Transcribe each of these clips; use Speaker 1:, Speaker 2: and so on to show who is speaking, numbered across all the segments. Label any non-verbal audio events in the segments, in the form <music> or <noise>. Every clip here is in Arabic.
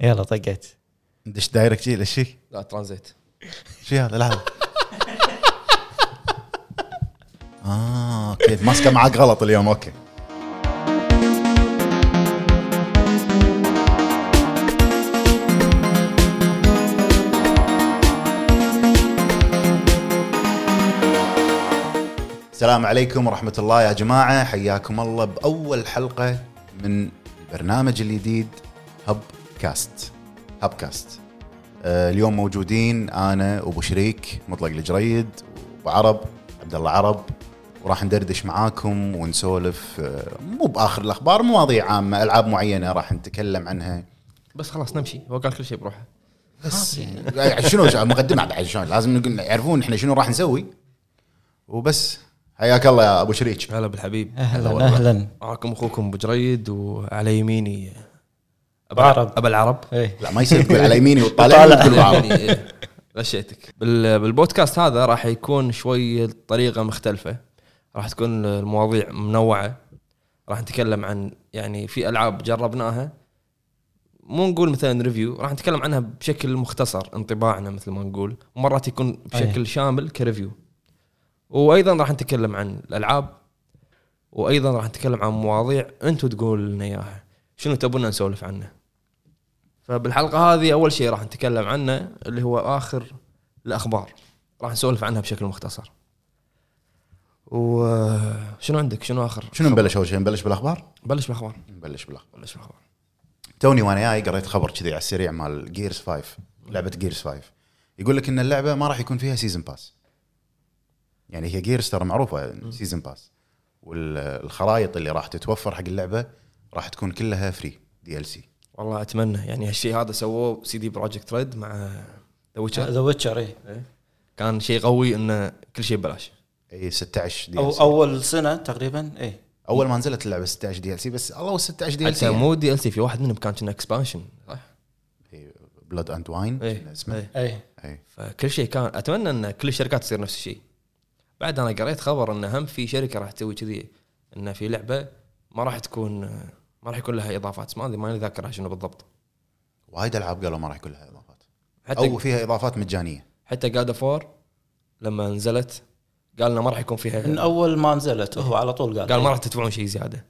Speaker 1: يلا طقيت
Speaker 2: ندش دايركت جي ليش شي؟
Speaker 3: لا ترانزيت
Speaker 2: شي هذا <laughs> لحظه اه اوكي ماسكه معك غلط اليوم اوكي السلام عليكم ورحمة الله يا جماعة حياكم الله بأول حلقة من البرنامج الجديد هب كاست هب كاست آه، اليوم موجودين انا وابو شريك مطلق الجريد وعرب عبد الله عرب وراح ندردش معاكم ونسولف آه، مو باخر الاخبار مواضيع عامه العاب معينه راح نتكلم عنها
Speaker 3: بس خلاص نمشي هو قال كل شيء بروحه
Speaker 2: بس يعني شنو شنو- مقدمه بعد شلون لازم نقول يعرفون احنا شنو راح نسوي وبس حياك الله يا ابو شريك
Speaker 3: هلا بالحبيب
Speaker 1: اهلا اهلا
Speaker 3: معاكم اخوكم ابو جريد وعلى يميني ابو
Speaker 1: عرب.
Speaker 3: ابو العرب
Speaker 1: ايه
Speaker 2: لا ما يصير تقول على يميني وتطالع وتقول بعرب.
Speaker 3: يعني، إيه، غشيتك بال- بالبودكاست هذا راح يكون شوي طريقه مختلفه راح تكون المواضيع منوعه راح نتكلم عن يعني في العاب جربناها مو نقول مثلا ريفيو راح نتكلم عنها بشكل مختصر انطباعنا مثل ما نقول ومرات يكون بشكل شامل كريفيو وايضا راح نتكلم عن الالعاب وايضا راح نتكلم عن مواضيع انتم تقول لنا اياها شنو تبون نسولف عنه فبالحلقه هذه اول شيء راح نتكلم عنه اللي هو اخر الاخبار راح نسولف عنها بشكل مختصر وشنو عندك شنو اخر
Speaker 2: شنو نبلش اول شيء نبلش بالاخبار
Speaker 3: بلش بالاخبار
Speaker 2: نبلش بالاخبار
Speaker 3: بلش بالاخبار
Speaker 2: توني وانا جاي قريت خبر كذي على السريع مال جيرز 5 لعبه جيرز 5 يقول لك ان اللعبه ما راح يكون فيها سيزن باس يعني هي جيرز ترى معروفه سيزن باس والخرائط اللي راح تتوفر حق اللعبه راح تكون كلها فري دي ال سي
Speaker 3: والله اتمنى يعني هالشيء هذا سووه سي دي بروجكت ريد مع ذا ويتشر
Speaker 1: ذا ويتشر ايه
Speaker 3: كان شيء قوي انه كل شيء ببلاش
Speaker 2: اي 16 دي
Speaker 1: أو
Speaker 2: ال سي
Speaker 1: اول سنه تقريبا ايه
Speaker 2: اول ما نزلت اللعبه 16 دي ال سي بس الله 16 دي ال
Speaker 3: حتى
Speaker 2: سي
Speaker 3: مو دي ال سي في واحد منهم كان كنا اكسبانشن صح؟
Speaker 2: بلاد اند واين
Speaker 3: ايه
Speaker 2: اسمه
Speaker 3: إيه.
Speaker 1: ايه
Speaker 2: اي
Speaker 3: فكل شيء كان اتمنى ان كل الشركات تصير نفس الشيء بعد انا قريت خبر ان هم في شركه راح تسوي كذي ان في لعبه ما راح تكون ما راح يكون لها اضافات ما ادري ماني ذاكرها شنو بالضبط
Speaker 2: وايد العاب قالوا ما راح يكون لها اضافات او
Speaker 3: حتى
Speaker 2: فيها اضافات مجانيه
Speaker 3: حتى جاد فور لما نزلت قالنا ما راح يكون
Speaker 1: من
Speaker 3: فيها
Speaker 1: اول ما نزلت هو على طول قال
Speaker 3: قال ما راح تدفعون شيء زياده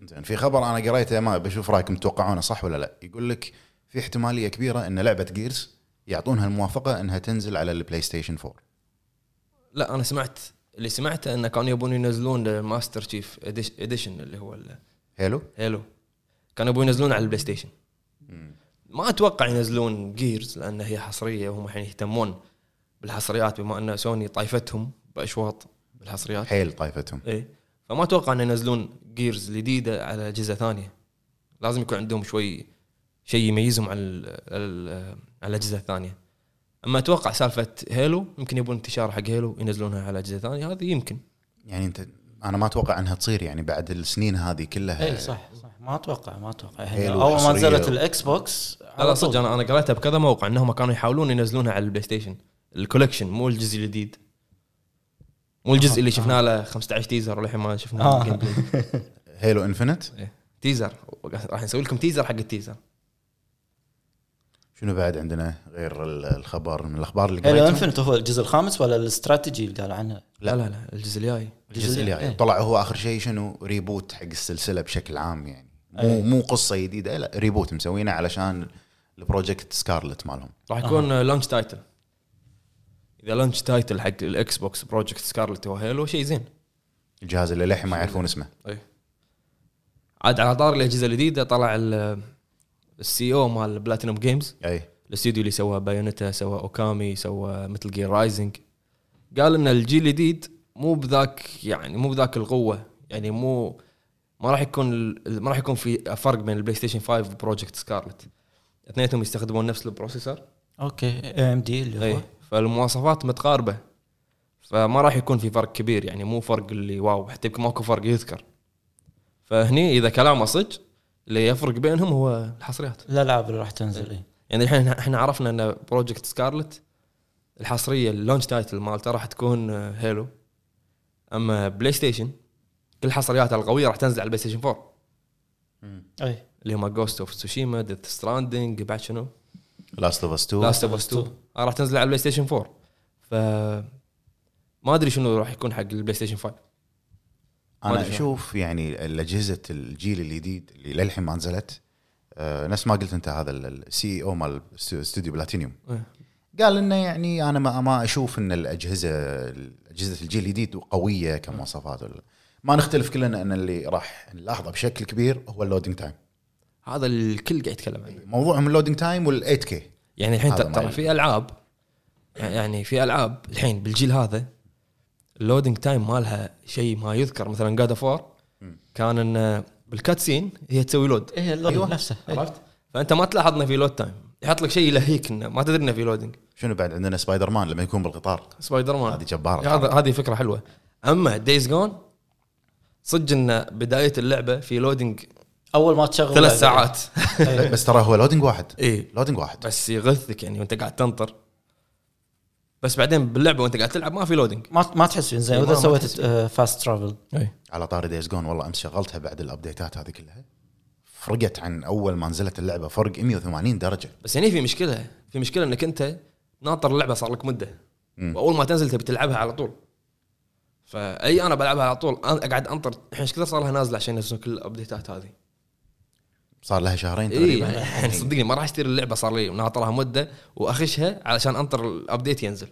Speaker 2: زين في خبر انا قريته ما بشوف رايكم تتوقعونه صح ولا لا يقول لك في احتماليه كبيره ان لعبه جيرز يعطونها الموافقه انها تنزل على البلاي ستيشن 4
Speaker 3: لا انا سمعت اللي سمعته انه كانوا يبون ينزلون الماستر تشيف اديشن اللي هو
Speaker 2: حلو
Speaker 3: هيلو كانوا يبون ينزلون على البلاي ستيشن ما اتوقع ينزلون جيرز لان هي حصريه وهم الحين يهتمون بالحصريات بما ان سوني طايفتهم باشواط بالحصريات
Speaker 2: حيل طايفتهم
Speaker 3: اي فما اتوقع ان ينزلون جيرز الجديده على اجهزه ثانيه لازم يكون عندهم شوي شيء يميزهم على ال- ال- على الاجهزه الثانيه اما اتوقع سالفه هيلو يمكن يبون انتشار حق هيلو ينزلونها على اجهزه ثانيه هذه يمكن
Speaker 2: يعني انت انا ما اتوقع انها تصير يعني بعد السنين هذه كلها
Speaker 1: اي إيه، صح صح ما اتوقع ما اتوقع هي
Speaker 2: حلو،
Speaker 1: اول ما
Speaker 2: حصرية.
Speaker 1: نزلت الاكس بوكس
Speaker 3: لا لا صدق انا انا قريتها بكذا موقع انهم كانوا يحاولون ينزلونها على البلاي ستيشن الكولكشن مو الجزء الجديد مو الجزء اللي شفناه له 15 تيزر وللحين ما شفنا
Speaker 1: آه.
Speaker 3: الجيم بلاي.
Speaker 2: هيلو انفنت
Speaker 3: إيه. تيزر راح نسوي لكم تيزر حق التيزر
Speaker 2: شنو بعد عندنا غير ال- الخبر من الاخبار اللي
Speaker 1: هيلو
Speaker 2: قريتها
Speaker 1: انفنت إيه، هو الجزء الخامس ولا الاستراتيجي اللي قال عنه
Speaker 3: لا لا لا الجزء الجاي
Speaker 2: الجزء اللي
Speaker 1: إيه.
Speaker 2: جاي. طلع هو اخر شيء شنو ريبوت حق السلسله بشكل عام يعني مو
Speaker 1: إيه.
Speaker 2: مو قصه جديده لا ريبوت مسوينه علشان البروجكت سكارلت مالهم
Speaker 3: راح يكون لانش تايتل اذا لانش تايتل حق الاكس بوكس بروجكت سكارلت وهيلو شيء زين
Speaker 2: الجهاز اللي للحين ما يعرفون اسمه
Speaker 3: اي عاد على طار الاجهزه الجديده طلع ال- السي او مال بلاتينوم جيمز
Speaker 2: اي
Speaker 3: الاستوديو اللي سوى بايونيتا سوى اوكامي سوى مثل جير رايزنج قال ان الجيل الجديد مو بذاك يعني مو بذاك القوه يعني مو ما راح يكون ال- ما راح يكون في فرق بين البلاي ستيشن 5 وبروجكت سكارلت اثنينهم يستخدمون نفس البروسيسور
Speaker 1: اوكي اي ام دي اللي هو
Speaker 3: اي فالمواصفات متقاربه فما راح يكون في فرق كبير يعني مو فرق اللي واو حتى يمكن ماكو فرق يذكر فهني اذا كلامه صدق اللي يفرق بينهم هو الحصريات
Speaker 1: الالعاب اللي راح تنزل إيه. اي
Speaker 3: يعني الحين احنا عرفنا ان بروجكت سكارلت الحصريه اللونش تايتل مالته راح تكون آه، هيلو اما بلاي ستيشن كل حصرياتها القويه راح تنزل على البلاي ستيشن 4
Speaker 1: اي
Speaker 3: اللي هم جوست اوف تسوشيما ديث ستراندنج بعد شنو؟
Speaker 2: لاست اوف اس 2
Speaker 3: لاست اوف اس 2 آه، راح تنزل على البلاي ستيشن 4 ف ما ادري شنو راح يكون حق البلاي ستيشن 5 ما
Speaker 2: انا
Speaker 3: أدري شلون.
Speaker 2: اشوف يعني الاجهزه الجيل الجديد اللي للحين ما نزلت آه، نفس ما قلت انت هذا السي او E مال استوديو بلاتينيوم
Speaker 3: إيه.
Speaker 2: قال انه يعني انا ما ما اشوف ان الاجهزه اجهزه الجيل الجديد قويه كمواصفات ولا- ما نختلف كلنا ان اللي راح نلاحظه بشكل كبير هو اللودينج تايم
Speaker 3: هذا الكل قاعد يتكلم عنه
Speaker 2: موضوعهم اللودينج تايم وال8 كي
Speaker 3: يعني الحين
Speaker 2: هذا ما
Speaker 3: ترى
Speaker 2: يلزم.
Speaker 3: في العاب يعني في العاب الحين بالجيل هذا اللودنج تايم مالها شيء ما يذكر مثلا جاد فور كان انه بالكاتسين هي تسوي لود
Speaker 1: اي اللون نفسه إيه.
Speaker 3: أيوة، عرفت؟ فانت ما تلاحظ انه في لود تايم يحط لك شيء يلهيك انه ما تدري انه في لودنج
Speaker 2: شنو بعد عندنا سبايدر مان لما يكون بالقطار
Speaker 3: سبايدر مان
Speaker 2: هذه جبارة.
Speaker 3: هذا هذه فكره حلوه اما دايز جون صدق ان بدايه اللعبه في لودنج
Speaker 1: اول ما تشغل
Speaker 3: ثلاث ساعات <laughs>
Speaker 2: بس ترى هو لودينج واحد
Speaker 3: اي
Speaker 2: لودينج واحد
Speaker 3: بس يغثك يعني وانت قاعد تنطر بس بعدين باللعبه وانت قاعد تلعب ما في لودنج
Speaker 1: ما ما تحس فيه زين
Speaker 3: إيه، ما-
Speaker 1: واذا
Speaker 3: ما
Speaker 1: سويت آه،
Speaker 3: تحس
Speaker 1: فاست ترافل
Speaker 3: اي
Speaker 2: على طاري دايز جون والله امس شغلتها بعد الابديتات هذه كلها فرقت عن اول ما نزلت اللعبه فرق 180 درجه
Speaker 3: بس هني في مشكله في مشكله انك انت ناطر اللعبه صار لك مده واول ما تنزل تبي تلعبها على طول فاي انا بلعبها على طول انا قاعد انطر الحين ايش كثر صار لها نازله عشان ينزلون كل الابديتات هذه
Speaker 2: صار لها شهرين
Speaker 3: اي
Speaker 2: تقريبا <laughs>
Speaker 3: يعني صدقني ما راح اشتري اللعبه صار لي ناطرها مده واخشها علشان انطر الابديت ينزل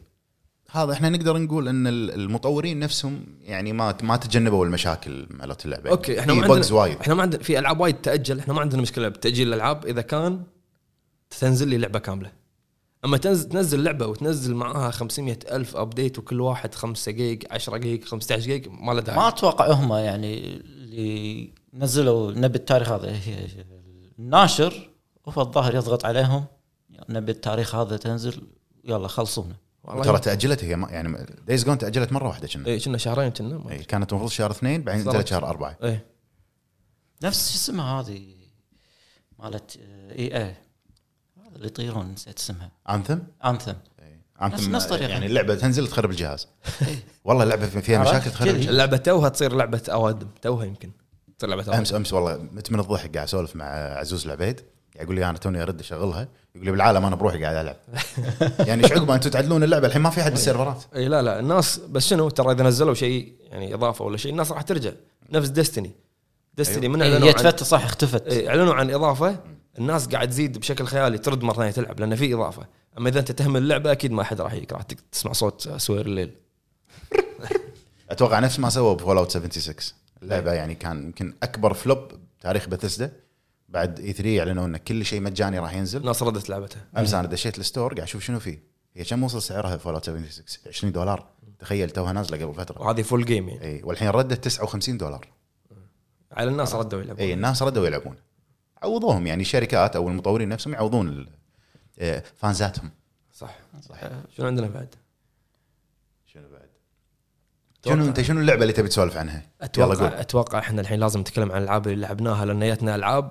Speaker 2: هذا احنا نقدر نقول ان ال- المطورين نفسهم يعني ما ما تجنبوا المشاكل مالت اللعبه
Speaker 3: اوكي احنا
Speaker 2: في
Speaker 3: ما
Speaker 2: بجز
Speaker 3: عندنا
Speaker 2: وايد
Speaker 3: احنا ما عندنا في العاب وايد تاجل احنا ما عندنا مشكله بتاجيل الالعاب اذا كان تنزل لي لعبه كامله اما تنزل تنزل لعبه وتنزل معاها 500 الف ابديت وكل واحد 5 جيج 10 جيج 15 جيج ما
Speaker 1: ما
Speaker 3: له داعي
Speaker 1: اتوقع هم يعني اللي نزلوا نبي التاريخ هذا هي- الناشر هو الظاهر يضغط عليهم نبي التاريخ هذا تنزل يلا خلصونا
Speaker 3: والله
Speaker 2: ترى تاجلت هي ما- يعني دايز جون تاجلت مره واحده كنا
Speaker 3: اي كنا شهرين كنا ما-
Speaker 2: إيه، كانت المفروض شهر اثنين بعدين
Speaker 3: بالضبط.
Speaker 2: نزلت شهر اربعه
Speaker 3: اي
Speaker 1: نفس شو اسمها هذه مالت اي اي اللي يطيرون نسيت اسمها
Speaker 2: انثم
Speaker 1: انثم نفس-
Speaker 2: انثم
Speaker 1: نفس طريقة.
Speaker 2: يعني اللعبه تنزل تخرب
Speaker 3: <laughs>
Speaker 2: الجهاز
Speaker 3: إيه.
Speaker 2: والله اللعبه فيها
Speaker 1: عرفت؟
Speaker 2: مشاكل تخرب
Speaker 1: كذي.
Speaker 2: الجهاز
Speaker 3: اللعبه توها تصير لعبه اوادم توها يمكن تصير لعبه اوادم
Speaker 2: امس امس والله مت من الضحك قاعد اسولف مع عزوز العبيد قاعد يقول لي انا توني ارد اشغلها يقول لي بالعالم انا بروحي قاعد العب يعني ايش عقب انتم تعدلون اللعبه الحين ما في احد بالسيرفرات
Speaker 3: اي إيه، لا لا الناس بس شنو ترى اذا نزلوا شيء يعني اضافه ولا شيء الناس راح ترجع نفس ديستني ديستني
Speaker 2: أيوة.
Speaker 3: من اعلنوا
Speaker 1: إيه، هي
Speaker 3: عن-
Speaker 1: تفتح صح اختفت
Speaker 3: إيه، اعلنوا عن اضافه الناس قاعد تزيد بشكل خيالي ترد مره ثانيه تلعب لان في اضافه اما اذا انت تهمل اللعبه اكيد ما حد راح يجيك راح تك- تسمع صوت سوير الليل
Speaker 2: اتوقع نفس ما سووا بفول اوت 76 اللعبه يعني كان يمكن اكبر فلوب بتاريخ بثسدا بعد اي 3 اعلنوا ان كل شيء مجاني راح ينزل
Speaker 3: الناس ردت لعبتها
Speaker 2: امس انا دشيت الستور قاعد اشوف شنو فيه هي كم وصل سعرها فول اوت 76 20 دولار تخيل توها نازله قبل فتره
Speaker 3: وهذه فول جيم يعني
Speaker 2: اي والحين ردت 59 دولار
Speaker 3: على الناس ردوا يلعبون
Speaker 2: اي إيه، الناس ردوا يلعبون عوضوهم يعني الشركات او المطورين نفسهم يعوضون ال- آه، فانزاتهم
Speaker 3: صح
Speaker 2: صح
Speaker 3: آه، شنو عندنا بعد؟
Speaker 2: شنو بعد شنو انت شنو اللعبه اللي تبي تسولف عنها؟ يلا قول.
Speaker 3: اتوقع اتوقع احنا الحين لازم نتكلم عن الالعاب اللي لعبناها لان جاتنا العاب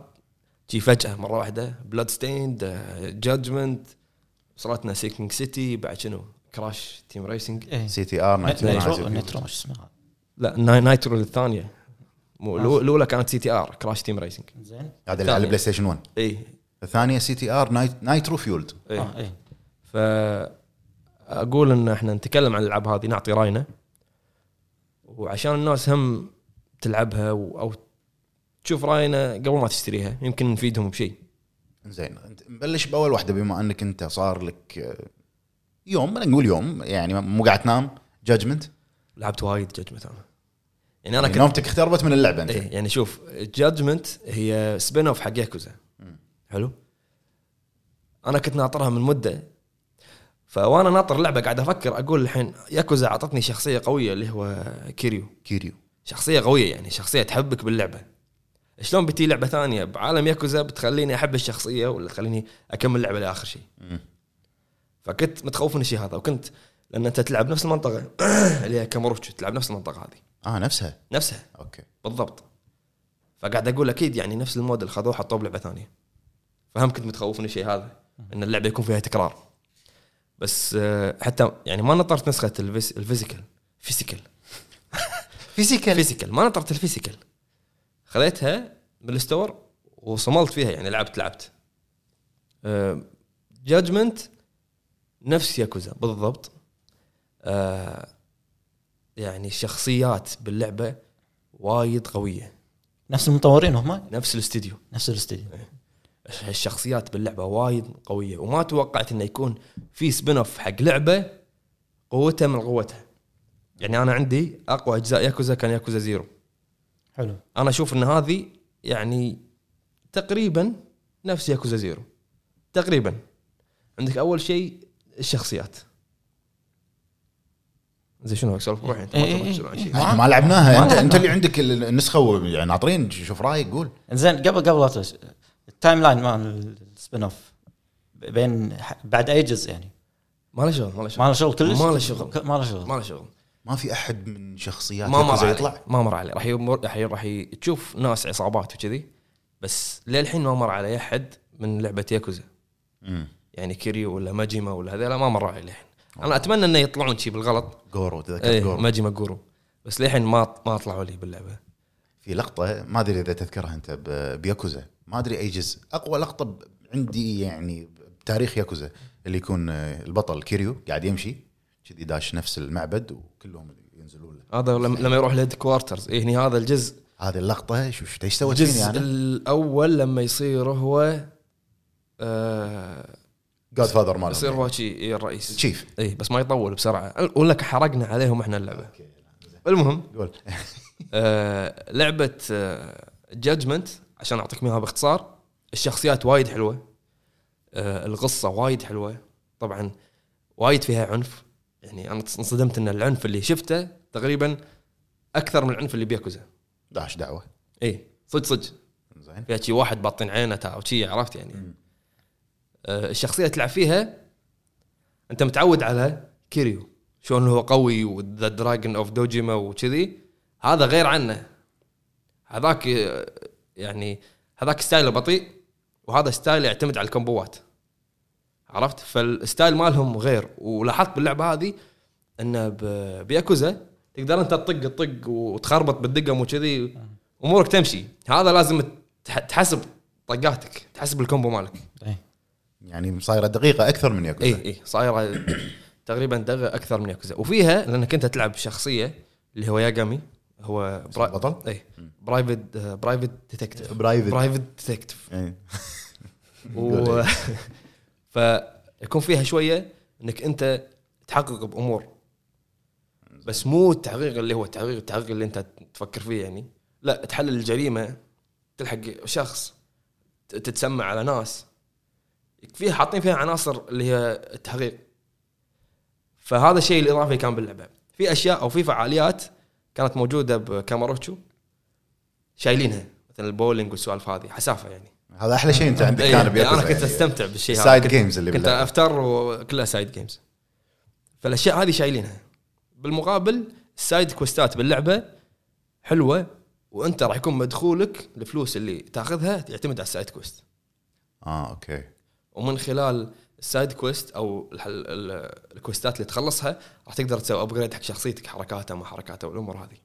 Speaker 3: جي فجاه مره واحده بلاد ستيند جادجمنت وصلتنا سيكينج سيتي بعد شنو كراش تيم ريسنج
Speaker 1: إيه.
Speaker 2: سي تي ار
Speaker 1: نترو نترو شو اسمها
Speaker 3: لا ناي- نايترو الثانيه مو الاولى كانت سي تي ار كراش تيم ريسنج
Speaker 1: زين
Speaker 2: هذا اللي على البلاي ستيشن 1
Speaker 3: اي
Speaker 2: الثانيه سي تي ار نايت نايترو فيولد
Speaker 3: إيه.
Speaker 1: اه اي
Speaker 3: ف اقول ان احنا نتكلم عن الالعاب هذه نعطي راينا وعشان الناس هم تلعبها و- او تشوف راينا قبل ما تشتريها يمكن نفيدهم بشيء
Speaker 2: زين أنت نبلش باول واحده بما انك انت صار لك آه، يوم نقول يوم يعني مو قاعد تنام جادجمنت
Speaker 3: لعبت وايد جاجمنت انا يعني انا كنت
Speaker 2: نومتك اختربت من اللعبه انت
Speaker 3: إيه يعني شوف جادجمنت هي سبين اوف حق ياكوزا حلو انا كنت ناطرها من مده فوانا ناطر اللعبه قاعد افكر اقول الحين ياكوزا اعطتني شخصيه قويه اللي هو كيريو
Speaker 2: كيريو
Speaker 3: شخصيه قويه يعني شخصيه تحبك باللعبه شلون بتي لعبه ثانيه بعالم ياكوزا بتخليني احب الشخصيه ولا تخليني اكمل اللعبه لاخر شيء فكنت متخوف من الشيء هذا وكنت لان انت تلعب نفس المنطقه <clears throat> اللي هي كاموروتشو تلعب نفس المنطقه هذه
Speaker 2: اه نفسها
Speaker 3: نفسها
Speaker 2: اوكي
Speaker 3: بالضبط فقاعد اقول اكيد يعني نفس الموديل خذوه حطوه بلعبه ثانيه فهم كنت متخوف من الشيء هذا ان اللعبه يكون فيها تكرار بس آه، حتى يعني ما نطرت نسخه الفيس- الفيزيكال فيزيكال <laughs>
Speaker 2: فيزيكال
Speaker 3: فيزيكال ما نطرت الفيزيكال خذيتها من الستور وصملت فيها يعني لعبت لعبت جادجمنت نفس ياكوزا بالضبط آه، يعني الشخصيات باللعبه وايد قويه
Speaker 1: نفس المطورين هم
Speaker 3: نفس الاستديو
Speaker 1: نفس الاستديو
Speaker 3: إيه. الشخصيات باللعبه وايد قويه وما توقعت انه يكون في سبين اوف حق لعبه قوتها من قوتها يعني انا عندي اقوى اجزاء ياكوزا كان ياكوزا زيرو
Speaker 1: حلو
Speaker 3: انا اشوف ان هذه يعني تقريبا نفس ياكوزا زيرو تقريبا عندك اول شيء الشخصيات زي شنو سولف روحي انت ما
Speaker 1: إيه،
Speaker 3: تبغى
Speaker 1: إيه،
Speaker 3: تسولف عن شيء
Speaker 2: ما لعبناها انت انت اللي عندك ال- النسخه يعني عطرين شوف رايك قول
Speaker 1: زين قبل قبل لا تدش، التايم لاين مال السبين اوف بين ح- بعد اي جزء يعني
Speaker 3: ما له شغل ما له شغل
Speaker 1: ما له شغل كلش
Speaker 3: ما له شغل.
Speaker 1: ك- ما له شغل
Speaker 3: ما له شغل
Speaker 2: ما في احد من شخصيات
Speaker 3: ما مر
Speaker 2: ياكوزا
Speaker 3: علي
Speaker 2: يطلع
Speaker 3: ما مر علي راح يمر راح راح ي- تشوف ناس عصابات وكذي بس للحين ما مر علي احد من لعبه ياكوزا
Speaker 2: مم.
Speaker 3: يعني كيريو ولا ماجيما ولا هذيلا ما مر علي للحين انا اتمنى انه يطلعون شي بالغلط
Speaker 2: جورو تذكر
Speaker 3: ايه
Speaker 2: جورو
Speaker 3: ماجيما جورو بس للحين ما ما طلعوا لي باللعبه
Speaker 2: في لقطه ما ادري اذا تذكرها انت ب- بياكوزا ما ادري اي جزء اقوى لقطه ب- عندي يعني بتاريخ ياكوزا اللي يكون آه، البطل كيريو قاعد يمشي كذي داش نفس المعبد وكلهم ينزلون له
Speaker 3: هذا لم- لما يروح لهيد كوارترز إيه هني هذا الجزء
Speaker 2: هذه اللقطه شو شو- ايش سوت فيني
Speaker 3: الجزء
Speaker 2: انا؟
Speaker 3: الاول لما يصير هو آه
Speaker 2: جاد فاذر مالهم يعني.
Speaker 3: يصير هو شي إيه، الرئيس
Speaker 2: تشيف
Speaker 3: اي بس ما يطول بسرعه ولا حرقنا عليهم احنا اللعبه المهم
Speaker 2: قول
Speaker 3: آه، لعبه جادجمنت عشان اعطيكم اياها باختصار الشخصيات وايد حلوه آه، القصه وايد حلوه طبعا وايد فيها عنف يعني انا انصدمت ان العنف اللي شفته تقريبا اكثر من العنف اللي بياكوزا
Speaker 2: داش دعوه
Speaker 3: اي صدق صدق
Speaker 2: زين
Speaker 3: فيها شي واحد باطين عينه تا- وشي عرفت يعني آه، الشخصيه اللي تلعب فيها انت متعود على كيريو شلون هو قوي وذا دراجون اوف دوجيما وكذي هذا غير عنه هذاك آه، يعني هذاك ستايله بطيء وهذا ستايل يعتمد على الكومبوات عرفت فالستايل مالهم غير ولاحظت باللعبه هذه ان ب- بياكوزا تقدر انت تطق تطق وتخربط بالدقم وكذي امورك تمشي هذا لازم تح- تحسب طقاتك تحسب الكومبو مالك إيه،
Speaker 1: إيه.
Speaker 2: يعني صايره دقيقه اكثر من ياكوزا
Speaker 3: اي اي صايره تقريبا دقه اكثر من ياكوزا وفيها لانك انت تلعب شخصيه اللي هو ياجامي هو
Speaker 2: البطل؟
Speaker 3: اي برايفت آه، برايفت ديتكتيف
Speaker 2: برايفت.
Speaker 3: برايفت ديتكتيف
Speaker 2: إيه.
Speaker 3: و... <laughs> فيكون فيها شويه انك انت تحقق بامور بس مو التحقيق اللي هو التحقيق التحقيق اللي انت تفكر فيه يعني لا تحلل الجريمه تلحق شخص ت- تتسمع على ناس فيها حاطين فيها عناصر اللي هي التحقيق فهذا الشيء الاضافي كان باللعبه في اشياء او في فعاليات كانت موجوده بكاماروتشو شايلينها مثل البولينج والسوالف هذه حسافه يعني
Speaker 2: هذا احلى شيء انت عندك
Speaker 3: إيه،
Speaker 2: كان
Speaker 3: انا
Speaker 2: بياكوزا
Speaker 3: كنت
Speaker 2: يعني.
Speaker 3: استمتع بالشيء هذا
Speaker 2: Side
Speaker 3: كنت-
Speaker 2: games اللي
Speaker 3: كنت
Speaker 2: باللعبة.
Speaker 3: افتر وكلها سايد جيمز فالاشياء هذه شايلينها بالمقابل السايد كوستات باللعبه حلوه وانت راح يكون مدخولك الفلوس اللي تاخذها يعتمد على السايد كوست
Speaker 2: اه اوكي
Speaker 3: ومن خلال السايد كويست او الح- ال- ال- الكويستات اللي تخلصها راح تقدر تسوي ابجريد حق شخصيتك حركاتها ما حركاتها والامور هذه.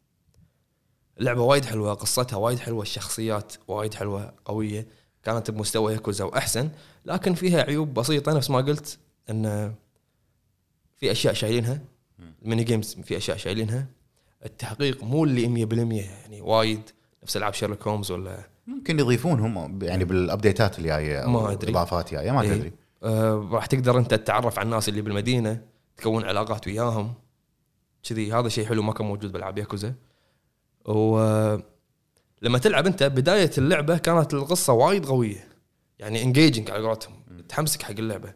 Speaker 3: اللعبه وايد حلوه، قصتها وايد حلوه، الشخصيات وايد حلوه قويه، كانت بمستوى ياكوزا واحسن، لكن فيها عيوب بسيطه نفس ما قلت ان في اشياء شايلينها الميني جيمز في اشياء شايلينها التحقيق مو اللي 100% يعني وايد نفس العاب شيرلوك هومز ولا
Speaker 2: ممكن يضيفون هم يعني بالابديتات اللي جايه أو
Speaker 3: ما أدري.
Speaker 2: اضافات جايه ما
Speaker 3: إيه.
Speaker 2: تدري
Speaker 3: آه، راح تقدر انت تتعرف على الناس اللي بالمدينه تكون علاقات وياهم كذي هذا شيء حلو ما كان موجود بالعاب ياكوزا و آه، لما تلعب انت بدايه اللعبه كانت القصه وايد قويه يعني انجيجنج على قولتهم تحمسك حق اللعبه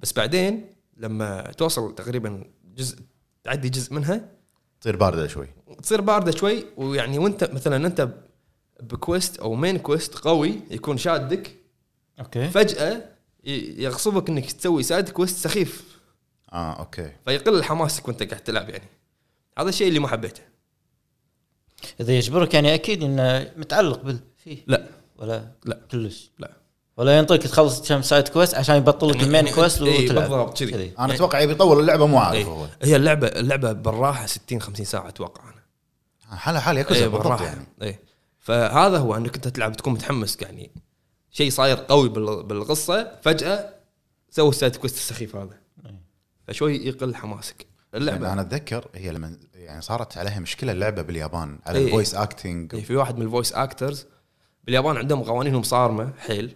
Speaker 3: بس بعدين لما توصل تقريبا جزء تعدي جزء منها
Speaker 2: تصير بارده شوي
Speaker 3: تصير بارده شوي ويعني وانت مثلا انت بكويست او مين كويست قوي يكون شادك
Speaker 1: اوكي
Speaker 3: فجأة ي- يغصبك انك تسوي سايد كويست سخيف
Speaker 2: اه اوكي
Speaker 3: فيقل حماسك وانت قاعد تلعب يعني هذا الشيء اللي ما حبيته
Speaker 1: اذا يجبرك يعني اكيد انه متعلق بال فيه
Speaker 3: لا
Speaker 1: ولا
Speaker 3: لا.
Speaker 1: كلش
Speaker 3: لا.
Speaker 1: ولا ينطيك تخلص كم سايد كويست عشان يبطل لك
Speaker 3: يعني-
Speaker 1: المين
Speaker 3: يعني-
Speaker 1: كويست
Speaker 3: إيه،
Speaker 1: وتلعب
Speaker 3: بالضبط، كذي.
Speaker 2: انا اتوقع يبي يطول اللعبه إيه، مو عارف هو
Speaker 3: إيه. هي اللعبه اللعبه بالراحه 60 50 ساعه اتوقع انا
Speaker 2: حالها حال ياكوزا
Speaker 3: اي
Speaker 2: بالضبط
Speaker 3: بالراحه
Speaker 2: يعني
Speaker 3: اي فهذا هو انك انت تلعب تكون متحمس يعني شيء صاير قوي بال- بالقصه فجاه سووا السايد كويست السخيف هذا
Speaker 1: إيه.
Speaker 3: فشوي يقل حماسك
Speaker 2: يعني
Speaker 3: اللعبه
Speaker 2: انا اتذكر هي لما يعني صارت عليها مشكله اللعبه باليابان على
Speaker 3: إي.
Speaker 2: الفويس اكتنج
Speaker 3: إيه، في واحد من الفويس اكترز باليابان عندهم قوانينهم صارمه حيل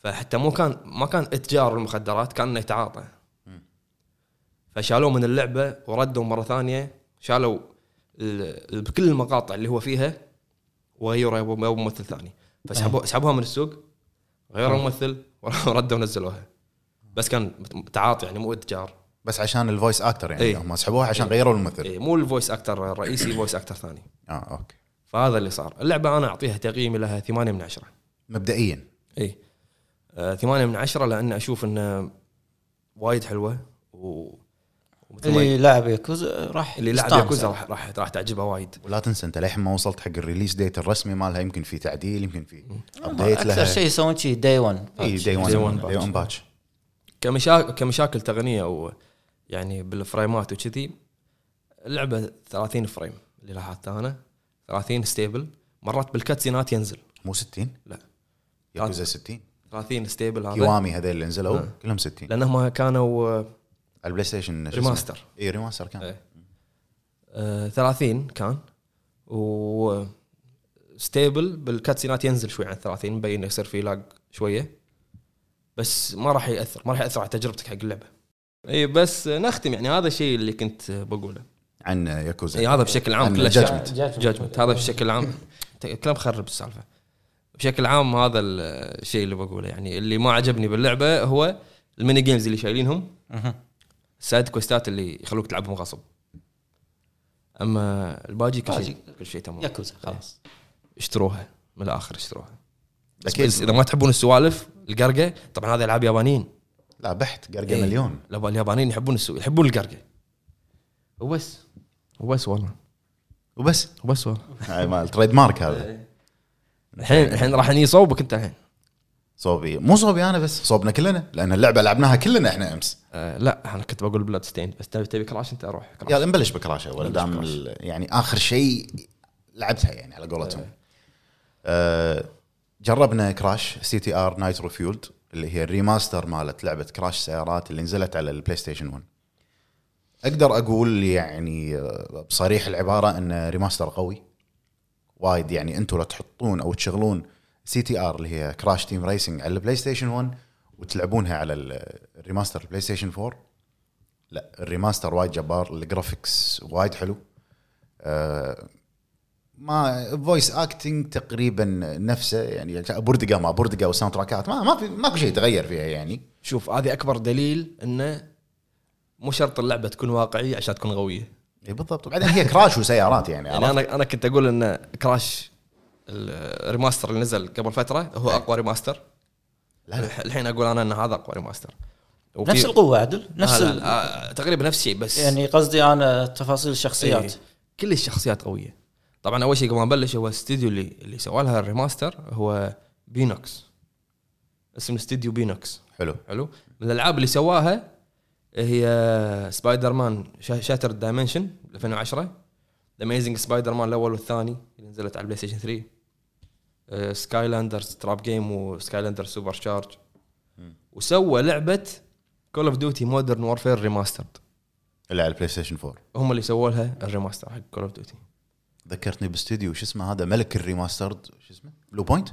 Speaker 3: فحتى مو كان ما كان اتجار المخدرات كان انه يتعاطى فشالوه من اللعبه وردوا مره ثانيه شالوا ال- ال- بكل المقاطع اللي هو فيها وغيروا يبوا يبوا ممثل ثاني فسحبوا سحبوها من السوق غيروا ممثل <laughs> وردوا ونزلوها بس كان تعاطي يعني مو اتجار
Speaker 2: بس عشان الفويس اكتر يعني
Speaker 3: إي.
Speaker 2: هم سحبوها عشان غيروا الممثل
Speaker 3: إيه، مو الفويس اكتر الرئيسي فويس اكتر ثاني
Speaker 2: اه اوكي
Speaker 3: فهذا اللي صار اللعبه انا اعطيها تقييمي لها 8 من 10
Speaker 2: مبدئيا
Speaker 3: اي إيه. آه، ثمانية من عشرة لأن أشوف أنه وايد حلوة و ومثل ما
Speaker 1: اللي لاعب ياكوزا راح
Speaker 3: اللي لعب
Speaker 1: يستانس. يعني.
Speaker 3: ياكوزا راح راح راح تعجبها وايد
Speaker 2: ولا تنسى انت للحين ما وصلت حق الريليس ديت الرسمي مالها يمكن في تعديل يمكن في ابديت
Speaker 1: اكثر
Speaker 2: لها إيه،
Speaker 1: شيء يسوون شيء داي 1
Speaker 2: اي دي
Speaker 3: إيه، Day
Speaker 2: 1
Speaker 3: one
Speaker 2: دي 1 باتش
Speaker 3: كمشاكل كمشاكل تقنية أو يعني بالفريمات وكذي اللعبة 30 فريم اللي لاحظتها أنا 30 ستيبل مرات بالكاتسينات ينزل
Speaker 2: مو 60
Speaker 3: لا آه.
Speaker 2: ياكوزا 60
Speaker 3: 30 ستيبل هذا
Speaker 2: كيوامي هذول اللي نزلوا كلهم 60 على
Speaker 3: لأنهم كانوا آه،
Speaker 2: البلاي ستيشن شو اسمه؟
Speaker 3: ريماستر
Speaker 2: اي ريماستر كان
Speaker 3: إيه. آه، 30 كان و ستيبل بالكاتسينات ينزل شوي عن 30 مبين إنه يصير في لاج شويه بس ما راح ياثر ما راح ياثر على تجربتك حق اللعبه اي بس نختم يعني هذا الشيء اللي كنت بقوله
Speaker 2: عن ياكوزا
Speaker 3: اي هذا بشكل عام
Speaker 2: عن
Speaker 3: كل
Speaker 2: Judgment.
Speaker 3: جاجمنت جاجمنت هذا بشكل عام ت- كلام خرب السالفه بشكل عام هذا الشيء اللي بقوله يعني اللي ما عجبني باللعبه هو الميني جيمز اللي شايلينهم السايد كويستات اللي يخلوك تلعبهم غصب اما الباجي كل شيء كل شيء تمام
Speaker 1: ياكوزا خلاص
Speaker 3: اشتروها من الاخر اشتروها
Speaker 2: أكيد.
Speaker 3: اكيد اذا ما تحبون السوالف القرقه طبعا هذا العاب يابانيين
Speaker 2: لا بحت قرقه
Speaker 3: إيه.
Speaker 2: مليون
Speaker 3: لا، اليابانيين يحبون السو... يحبون القرقه وبس وبس والله
Speaker 2: وبس
Speaker 3: وبس والله
Speaker 2: هاي مال تريد مارك هذا
Speaker 3: إيه. الحين الحين راح نجي صوبك انت الحين
Speaker 2: صوبي مو صوبي انا بس صوبنا كلنا لان اللعبه لعبناها كلنا احنا امس
Speaker 3: آه لا انا كنت بقول بلاد ستين بس تبي تبي كراش انت اروح كراش
Speaker 2: يلا نبلش بكراش اول
Speaker 3: نبلش
Speaker 2: دام
Speaker 3: بكراش.
Speaker 2: ال- يعني اخر شيء لعبتها يعني على قولتهم آه، جربنا كراش سي تي ار نايترو فيولد اللي هي الريماستر مالت لعبه كراش سيارات اللي نزلت على البلاي ستيشن 1 اقدر اقول يعني آه، بصريح العباره ان ريماستر قوي وايد يعني انتم لو تحطون او تشغلون سي تي ار اللي هي كراش تيم ريسنج على البلاي ستيشن 1 وتلعبونها على ال- آه، الريماستر البلاي ستيشن 4 لا الريماستر وايد جبار الجرافيكس وايد حلو آه، ما فويس اكتنج تقريبا نفسه يعني بردقه ما بردقه وساوند تراكات ما ما في ماكو شيء تغير فيها يعني
Speaker 3: شوف هذه اكبر دليل انه مو شرط اللعبه تكون واقعيه عشان تكون قويه
Speaker 2: اي بالضبط وبعدين هي كراش وسيارات
Speaker 3: <laughs>
Speaker 2: يعني,
Speaker 3: يعني انا انا كنت اقول ان كراش الريماستر اللي نزل قبل فتره هو
Speaker 1: إيه.
Speaker 3: اقوى ريماستر
Speaker 2: لا لا.
Speaker 3: الح- الحين اقول انا ان هذا اقوى ريماستر وفي-
Speaker 1: نفس القوه عدل
Speaker 3: آه،
Speaker 1: نفس
Speaker 3: لا،
Speaker 1: ال-
Speaker 3: آه، تقريبا نفس الشيء بس
Speaker 1: يعني قصدي انا تفاصيل
Speaker 3: إيه،
Speaker 1: الشخصيات
Speaker 3: كل الشخصيات قويه طبعا اول شيء قبل ما نبلش هو الاستديو اللي اللي سوى لها الريماستر هو بينوكس اسم الاستديو بينوكس
Speaker 2: حلو
Speaker 3: حلو من الالعاب اللي سواها هي سبايدر مان شاتر دايمنشن 2010 ذا اميزنج سبايدر مان الاول والثاني اللي نزلت على آه، البلاي ستيشن 3 سكاي لاندرز تراب جيم وسكاي لاندرز سوبر شارج وسوى لعبه كول اوف ديوتي مودرن وورفير ريماسترد
Speaker 2: اللي على البلاي ستيشن 4
Speaker 3: هم اللي سووا لها الريماستر حق كول اوف ديوتي
Speaker 2: ذكرتني باستديو شو اسمه هذا ملك الريماسترد شو اسمه بلو بوينت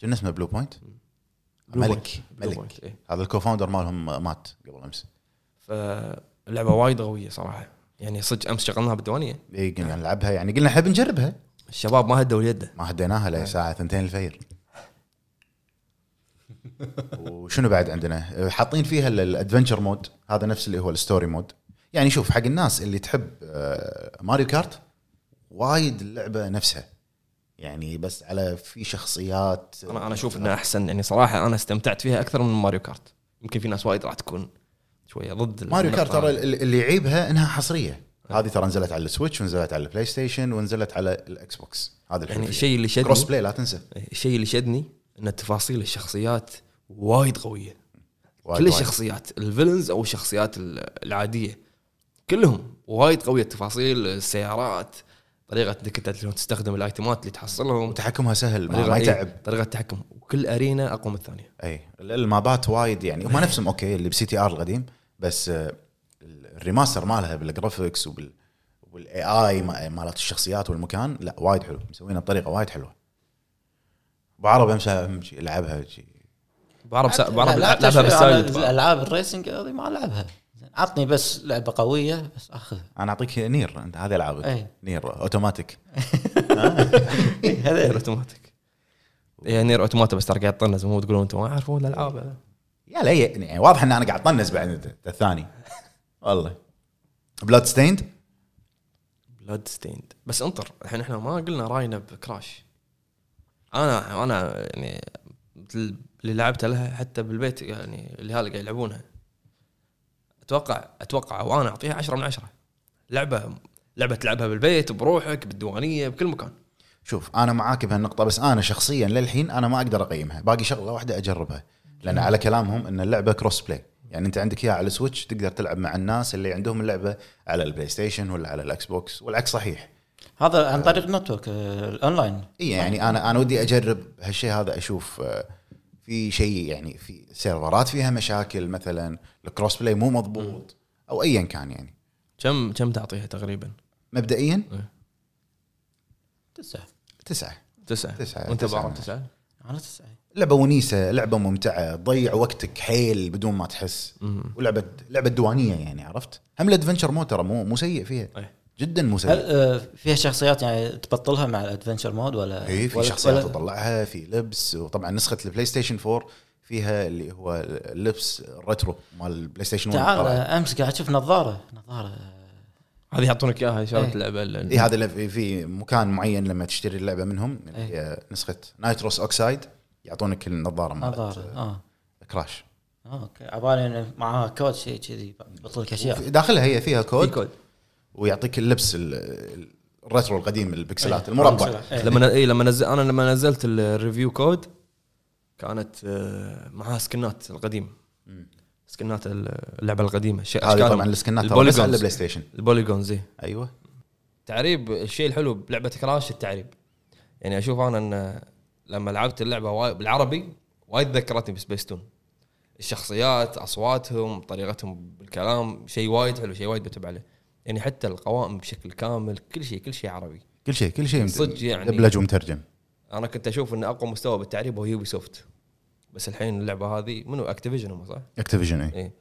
Speaker 2: كان اسمه بلو بوينت ملك ملك
Speaker 3: إيه.
Speaker 2: هذا الكوفاوندر مالهم مات قبل امس
Speaker 3: فاللعبه وايد قويه صراحه يعني صدق امس شغلناها بالديوانيه
Speaker 2: اي قلنا نلعبها يعني قلنا احنا بنجربها
Speaker 3: الشباب ما هدوا يده
Speaker 2: ما هديناها لساعة ثنتين الفجر وشنو بعد عندنا حاطين فيها الادفنشر مود هذا نفس اللي هو الستوري مود يعني شوف حق الناس اللي تحب آه، ماريو كارت وايد اللعبه نفسها يعني بس على في شخصيات
Speaker 3: انا انا اشوف انها احسن يعني صراحه انا استمتعت فيها اكثر من ماريو كارت يمكن في ناس وايد راح تكون شويه ضد
Speaker 2: ماريو
Speaker 3: النقطة
Speaker 2: كارت ترى
Speaker 3: هذه.
Speaker 2: ال- اللي يعيبها انها حصريه هذه ترى نزلت على السويتش ونزلت على البلاي ستيشن ونزلت على الاكس بوكس هذا
Speaker 3: يعني الشيء اللي شدني
Speaker 2: كروس بلاي لا تنسى
Speaker 3: الشيء اللي شدني ان تفاصيل الشخصيات وايد قويه
Speaker 2: وايد
Speaker 3: كل
Speaker 2: وايد.
Speaker 3: الشخصيات الفيلنز او الشخصيات ال- العاديه كلهم وايد قويه التفاصيل السيارات طريقه انك انت شلون تستخدم الايتمات اللي تحصلهم
Speaker 2: وتحكمها سهل ما,
Speaker 3: طريقة-
Speaker 2: ما
Speaker 3: إيه،
Speaker 2: يتعب
Speaker 3: طريقه التحكم وكل ارينا اقوى من الثانيه
Speaker 2: اي المابات إيه، وايد يعني هم نفسهم اوكي اللي بسي تي ار القديم بس آه، الريماستر مالها بالجرافكس وبال والاي اي مالت الشخصيات والمكان لا وايد حلو مسوينها بطريقه وايد حلوه ابو عرب امشي امشي العبها شي.
Speaker 3: بعرب سا... بعرب
Speaker 1: لا- لا
Speaker 3: لعبها
Speaker 1: تشوي على
Speaker 3: بالسايلنت
Speaker 1: الالعاب الريسنج هذه ما العبها عطني بس لعبه قويه بس
Speaker 2: <laughs>
Speaker 1: اخذها
Speaker 2: انا اعطيك نير انت هذه العابك
Speaker 1: أي.
Speaker 2: نير اوتوماتيك
Speaker 3: نير
Speaker 1: هذا
Speaker 3: اوتوماتيك هي نير اوتوماتا بس ترى قاعد تطنز مو تقولون انتم ما يعرفون الالعاب
Speaker 2: يا لا ي- يعني واضح ان انا قاعد طنز بعد الت- الثاني والله بلاد ستيند
Speaker 3: بلاد ستيند بس انطر الحين احنا ما قلنا راينا بكراش انا انا يعني مثل اللي لعبتها لها حتى بالبيت يعني اللي هذا قاعد يلعبونها اتوقع اتوقع وانا اعطيها عشرة من عشرة لعبه لعبه تلعبها بالبيت بروحك بالديوانيه بكل مكان
Speaker 2: شوف انا معاك بهالنقطه بس انا شخصيا للحين انا ما اقدر اقيمها باقي شغله واحده اجربها لان على كلامهم ان اللعبه كروس بلاي يعني انت عندك اياها على السويتش تقدر تلعب مع الناس اللي عندهم اللعبه على البلاي ستيشن ولا على الاكس بوكس والعكس صحيح
Speaker 1: هذا عن طريق نتورك آه، الاونلاين
Speaker 2: اي يعني انا انا ودي اجرب هالشيء هذا اشوف آه، في شيء يعني في سيرفرات فيها مشاكل مثلا الكروس بلاي مو مضبوط او ايا كان يعني
Speaker 3: كم كم تعطيها تقريبا؟
Speaker 2: مبدئيا
Speaker 1: تسعه
Speaker 2: تسعه
Speaker 3: تسعة
Speaker 2: تسعة،
Speaker 3: وانت
Speaker 2: تسعة.
Speaker 3: بعرف تسعة
Speaker 1: انا تسعه
Speaker 2: لعبه ونيسه لعبه ممتعه تضيع وقتك حيل بدون ما تحس
Speaker 3: مم.
Speaker 2: ولعبه لعبه دوانيه يعني عرفت هم الادفنشر مود ترى مو مو سيء فيها
Speaker 3: أي.
Speaker 2: جدا مو
Speaker 1: إيه. هل
Speaker 2: سيء
Speaker 1: آه، فيها شخصيات يعني تبطلها مع الادفنشر مود ولا
Speaker 2: اي إيه، في
Speaker 1: ولا-
Speaker 2: شخصيات
Speaker 1: ولا-
Speaker 2: تطلعها في لبس وطبعا نسخه البلاي ستيشن 4 فيها اللي هو اللبس الريترو مال البلاي ستيشن 1
Speaker 1: تعال
Speaker 2: طبعاً. آه،
Speaker 1: آه، امس قاعد اشوف نظاره نظاره
Speaker 3: هذه يعطونك اياها اشاره
Speaker 1: إيه.
Speaker 3: اللعبه ال-
Speaker 2: اي هذا اللي في- في مكان معين لما تشتري اللعبه منهم اللي
Speaker 1: أي.
Speaker 2: هي نسخه نايتروس اوكسايد يعطونك النظاره
Speaker 1: نظاره
Speaker 2: مالت
Speaker 1: اه
Speaker 2: كراش
Speaker 1: آه، اوكي عبالي انه معاها كود شيء كذي بطل لك اشياء
Speaker 2: وفي- داخلها هي فيها
Speaker 3: في
Speaker 2: كود
Speaker 3: كود
Speaker 2: ويعطيك اللبس ال- ال- الريترو القديم
Speaker 3: أيوة،
Speaker 2: البكسلات
Speaker 1: أي.
Speaker 2: المربع
Speaker 1: إيه.
Speaker 3: لما اي لما نزل انا لما نزلت الريفيو كود كانت آه، معاها سكنات القديم
Speaker 2: مم.
Speaker 3: سكنات اللعبه القديمه شيء
Speaker 2: هذه طبعا السكنات ترى بس على
Speaker 3: البوليجونز.
Speaker 2: البلاي ستيشن
Speaker 3: البوليجونز إيه.
Speaker 2: ايوه
Speaker 3: تعريب الشيء الحلو بلعبه كراش التعريب يعني اشوف انا ان لما لعبت اللعبه واي- بالعربي وايد ذكرتني بسبيستون الشخصيات اصواتهم طريقتهم بالكلام شيء وايد حلو شيء وايد بتب عليه يعني حتى القوائم بشكل كامل كل شيء كل شيء عربي
Speaker 2: كل شيء كل شيء
Speaker 3: صدق يعني.
Speaker 2: دبلج ومترجم
Speaker 3: انا كنت اشوف ان اقوى مستوى بالتعريب هو يوبي سوفت بس الحين اللعبه هذه منو اكتيفيجن هم صح؟
Speaker 2: اكتيفيجن اي
Speaker 3: اي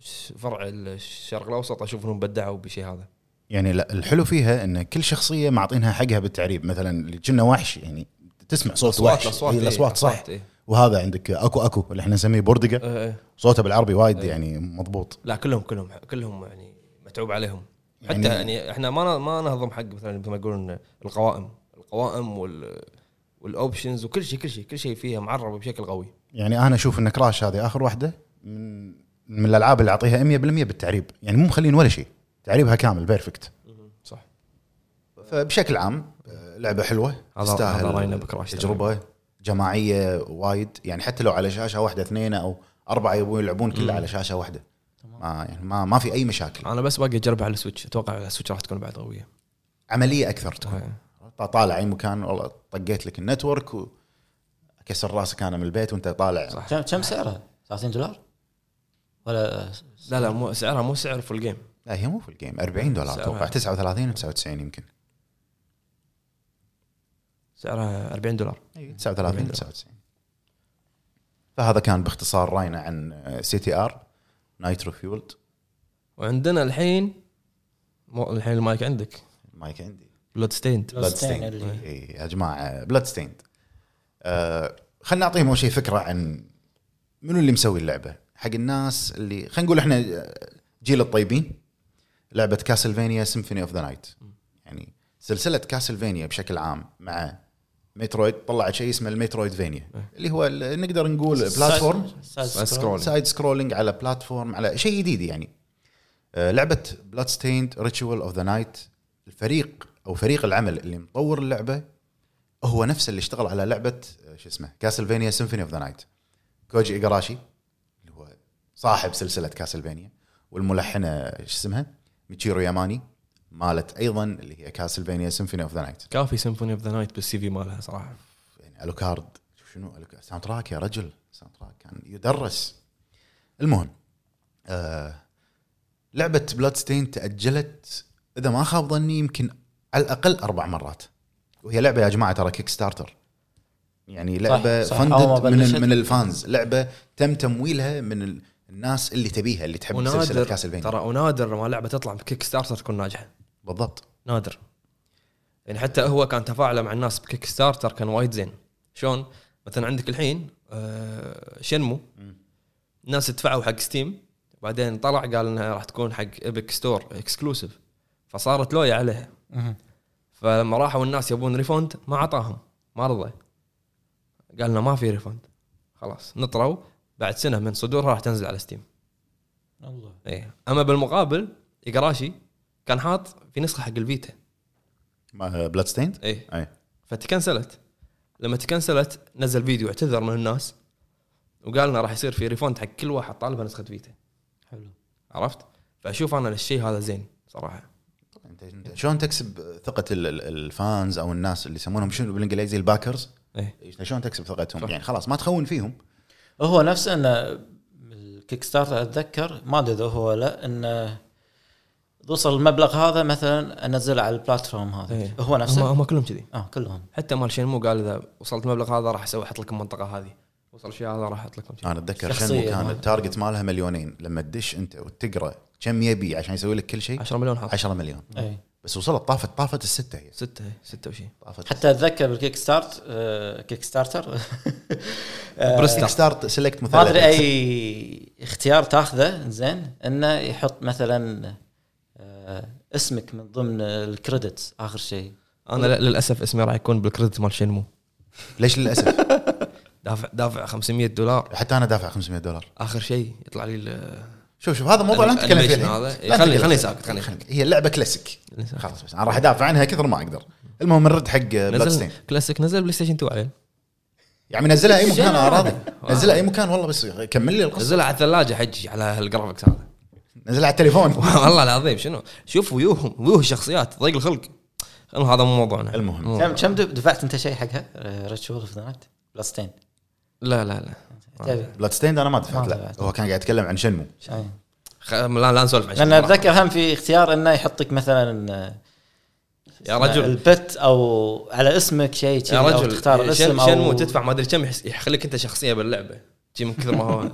Speaker 3: ش- فرع الشرق الاوسط اشوف انهم بدعوا بشيء هذا
Speaker 2: يعني لا الحلو فيها ان كل شخصيه معطينها حقها بالتعريب مثلا اللي كنا وحش يعني تسمع صوت وحش
Speaker 3: الأصوات،
Speaker 2: هي
Speaker 3: إيه،
Speaker 2: الاصوات صح
Speaker 3: الأصوات، إيه.
Speaker 2: وهذا عندك اكو اكو اللي احنا نسميه بردقه
Speaker 3: إيه، إيه.
Speaker 2: صوته بالعربي وايد يعني مضبوط
Speaker 3: لا كلهم كلهم كلهم يعني متعوب عليهم حتى
Speaker 2: يعني-
Speaker 3: يعني, احنا ما ن- ما نهضم حق مثلا مثل ما يقولون القوائم القوائم وال والاوبشنز وكل شيء كل شيء كل شيء فيها معرب بشكل قوي
Speaker 2: يعني انا اشوف ان كراش هذه اخر واحده من من الالعاب اللي اعطيها 100% بالتعريب يعني مو مخلين ولا شيء تعريبها كامل بيرفكت
Speaker 3: صح
Speaker 2: فبشكل عام آه، لعبه حلوه
Speaker 3: هذا- هذا رأينا بكراش
Speaker 2: تجربه جماعيه وايد يعني حتى لو على شاشه واحده اثنين او اربعه يبون يلعبون كله على شاشه واحده ما يعني ما ما في اي مشاكل
Speaker 3: انا بس باقي اجربها على السويتش اتوقع على السويتش راح تكون بعد قويه
Speaker 2: عمليه اكثر تكون
Speaker 3: إيه.
Speaker 2: طالع اي مكان والله طقيت لك النتورك وكسر راسك انا من البيت وانت طالع
Speaker 3: صح.
Speaker 1: كم كم سعرها؟ 30 دولار؟ ولا
Speaker 3: لا لا مو سعرها مو سعر فول جيم
Speaker 2: لا هي مو في الجيم 40 دولار
Speaker 3: سعرها.
Speaker 2: اتوقع 39 99 يمكن
Speaker 3: سعرها 40 أيوة. دولار
Speaker 2: 39 99 فهذا كان باختصار راينا عن آه، سي تي ار نايترو فيولد
Speaker 3: وعندنا الحين مو الحين المايك عندك
Speaker 2: المايك عندي
Speaker 3: بلود ستيند
Speaker 1: Blood- Bloodstained اللي-
Speaker 2: اي إيه يا جماعه بلاد ستيند آه خلينا نعطيهم اول شيء فكره عن منو اللي مسوي اللعبه حق الناس اللي خلينا نقول احنا جيل الطيبين لعبه كاسلفينيا سيمفوني اوف ذا نايت يعني سلسله كاسلفينيا بشكل عام مع مترويد طلعت شيء اسمه المترويد فينيا اللي هو ال- نقدر نقول بلاتفورم
Speaker 1: سايد سكرول
Speaker 3: سكرول
Speaker 2: سايد سكرولينج على بلاتفورم على شيء جديد يعني آه، لعبه بلاد ستيند ريتشوال اوف ذا نايت الفريق او فريق العمل اللي مطور اللعبه هو نفسه اللي اشتغل على لعبه آه، شو اسمه كاسلفينيا سيمفوني اوف ذا نايت كوجي ايجاراشي اللي هو آه، صاحب سلسله كاسلفينيا والملحنه شو اسمها ميتشيرو ياماني مالت ايضا اللي هي كاسلفينيا سيمفوني اوف ذا نايت
Speaker 3: كافي سيمفوني اوف ذا نايت بالسي في مالها صراحه
Speaker 2: يعني الوكارد شنو ألوك- ساوند تراك يا رجل ساوند تراك كان يدرس المهم آه لعبه بلاد ستين تاجلت اذا ما خاب ظني يمكن على الاقل اربع مرات وهي لعبه يا جماعه ترى كيك ستارتر يعني لعبه
Speaker 1: صح.
Speaker 2: فندت
Speaker 1: أول ما بلشت.
Speaker 2: من من الفانز لعبه تم تمويلها من ال- الناس اللي تبيها اللي تحب سلسله
Speaker 3: ونادر
Speaker 2: كاسلفينيا
Speaker 3: ترى ونادر ما لعبه تطلع بكيك ستارتر تكون ناجحه
Speaker 2: بالضبط
Speaker 3: نادر يعني حتى هو كان تفاعله مع الناس بكيك ستارتر كان وايد زين شلون مثلا عندك الحين آه شنمو الناس دفعوا حق ستيم بعدين طلع قال انها راح تكون حق ايبك ستور اكسكلوسيف فصارت لويا عليها
Speaker 1: مهم.
Speaker 3: فلما راحوا الناس يبون ريفوند ما عطاهم ما رضى قال لنا ما في ريفوند خلاص نطروا بعد سنه من صدورها راح تنزل على ستيم
Speaker 1: الله
Speaker 3: ايه اما بالمقابل اقراشي كان حاط في نسخه حق الفيتا
Speaker 2: بلاد ستيند
Speaker 3: ايه
Speaker 2: اي
Speaker 3: فتكنسلت لما تكنسلت نزل فيديو اعتذر من الناس وقال لنا راح يصير في ريفوند حق كل واحد طالب نسخه فيتا
Speaker 1: حلو
Speaker 3: عرفت فاشوف انا الشيء هذا زين صراحه
Speaker 2: انت انت شلون تكسب ثقه ال- ال- الفانز او الناس اللي يسمونهم شنو بالانجليزي الباكرز
Speaker 3: ايه
Speaker 2: إيش- شلون تكسب ثقتهم؟
Speaker 3: صح.
Speaker 2: يعني خلاص ما تخون فيهم
Speaker 1: هو نفسه انه الكيك ستارتر اتذكر ما ادري اذا هو لا انه توصل المبلغ هذا مثلا انزله على البلاتفورم هذا
Speaker 3: إيه.
Speaker 1: هو
Speaker 3: هم,
Speaker 1: نفسه
Speaker 3: هم كلهم كذي
Speaker 1: اه كلهم
Speaker 3: حتى مال شينمو قال اذا وصلت المبلغ هذا راح اسوي احط لكم منطقه هذه وصل الشيء هذا راح احط لكم شيء
Speaker 2: انا اتذكر
Speaker 1: شخصية
Speaker 2: شنو كان
Speaker 3: آه.
Speaker 1: ما-
Speaker 2: التارجت مالها مليونين لما تدش انت وتقرا كم يبي عشان يسوي لك كل شيء
Speaker 3: 10 مليون حط
Speaker 2: 10 مليون
Speaker 1: اي
Speaker 2: بس وصلت طافت طافت السته هي
Speaker 3: ستة ستة وشي
Speaker 2: طافت
Speaker 1: حتى اتذكر بالكيك ستارت آه، كيك ستارتر
Speaker 3: <laughs>
Speaker 1: آه،
Speaker 3: برستر.
Speaker 2: كيك ستارت
Speaker 1: <laughs>
Speaker 2: سيلكت
Speaker 1: ما ادري
Speaker 2: مثلث
Speaker 1: اي اختيار تاخذه زين انه يحط مثلا آه، اسمك من ضمن الكريدتس اخر شيء
Speaker 3: انا ل- للاسف اسمي راح يكون بالكريدت مال شينمو
Speaker 2: ليش للاسف
Speaker 3: دافع دافع 500 دولار
Speaker 2: حتى انا دافع 500 دولار
Speaker 3: اخر شيء يطلع لي ال-
Speaker 2: شوف شوف هذا موضوع لا
Speaker 3: الأنيميشن
Speaker 2: نتكلم فيه الحين.
Speaker 3: هذا.
Speaker 2: لا
Speaker 3: خلي-
Speaker 2: نتكلم
Speaker 3: خلي
Speaker 2: فيه.
Speaker 3: ساكت، خلي-
Speaker 2: خلي- هي اللعبه كلاسيك
Speaker 3: اللي صار.
Speaker 2: خلاص بس انا راح ادافع عنها كثر ما اقدر المهم نرد حق بلاد
Speaker 3: نزل
Speaker 2: ستين
Speaker 3: كلاسيك نزل بلاي ستيشن 2 عليه
Speaker 2: يا عمي يعني نزلها اي مكان انا راضي
Speaker 3: واو.
Speaker 2: نزلها اي مكان والله بس كمل لي القصه
Speaker 3: نزلها على الثلاجه حجي على هالجرافكس هذا <laughs>
Speaker 2: نزلها على التليفون
Speaker 3: والله العظيم شنو شوف ويوهم ويوه الشخصيات ضيق الخلق المهم هذا مو موضوعنا
Speaker 2: المهم.
Speaker 3: مو
Speaker 1: كم
Speaker 3: موضوع.
Speaker 1: كم دفعت انت شيء حقها آه، ريتشول اوف ذا نايت بلاستين
Speaker 3: لا لا لا
Speaker 1: تبي
Speaker 2: بلاد ستيند انا ما
Speaker 1: ما
Speaker 2: دفعت لا
Speaker 1: دفعت.
Speaker 2: هو كان قاعد يتكلم عن شنمو
Speaker 1: أي.
Speaker 3: خ- لا لا نسولف عن شيء.
Speaker 1: لان اتذكر هم في اختيار انه يحطك مثلا آه،
Speaker 3: يا رجل
Speaker 1: البت او على اسمك شيء شيء
Speaker 3: يا
Speaker 1: أو
Speaker 3: رجل إيه،
Speaker 1: تختار الاسم
Speaker 3: شنمو
Speaker 1: او
Speaker 3: شنمو تدفع ما ادري كم يحس- يخليك انت شخصيه باللعبه شي من كثر ما
Speaker 2: <laughs>
Speaker 3: هو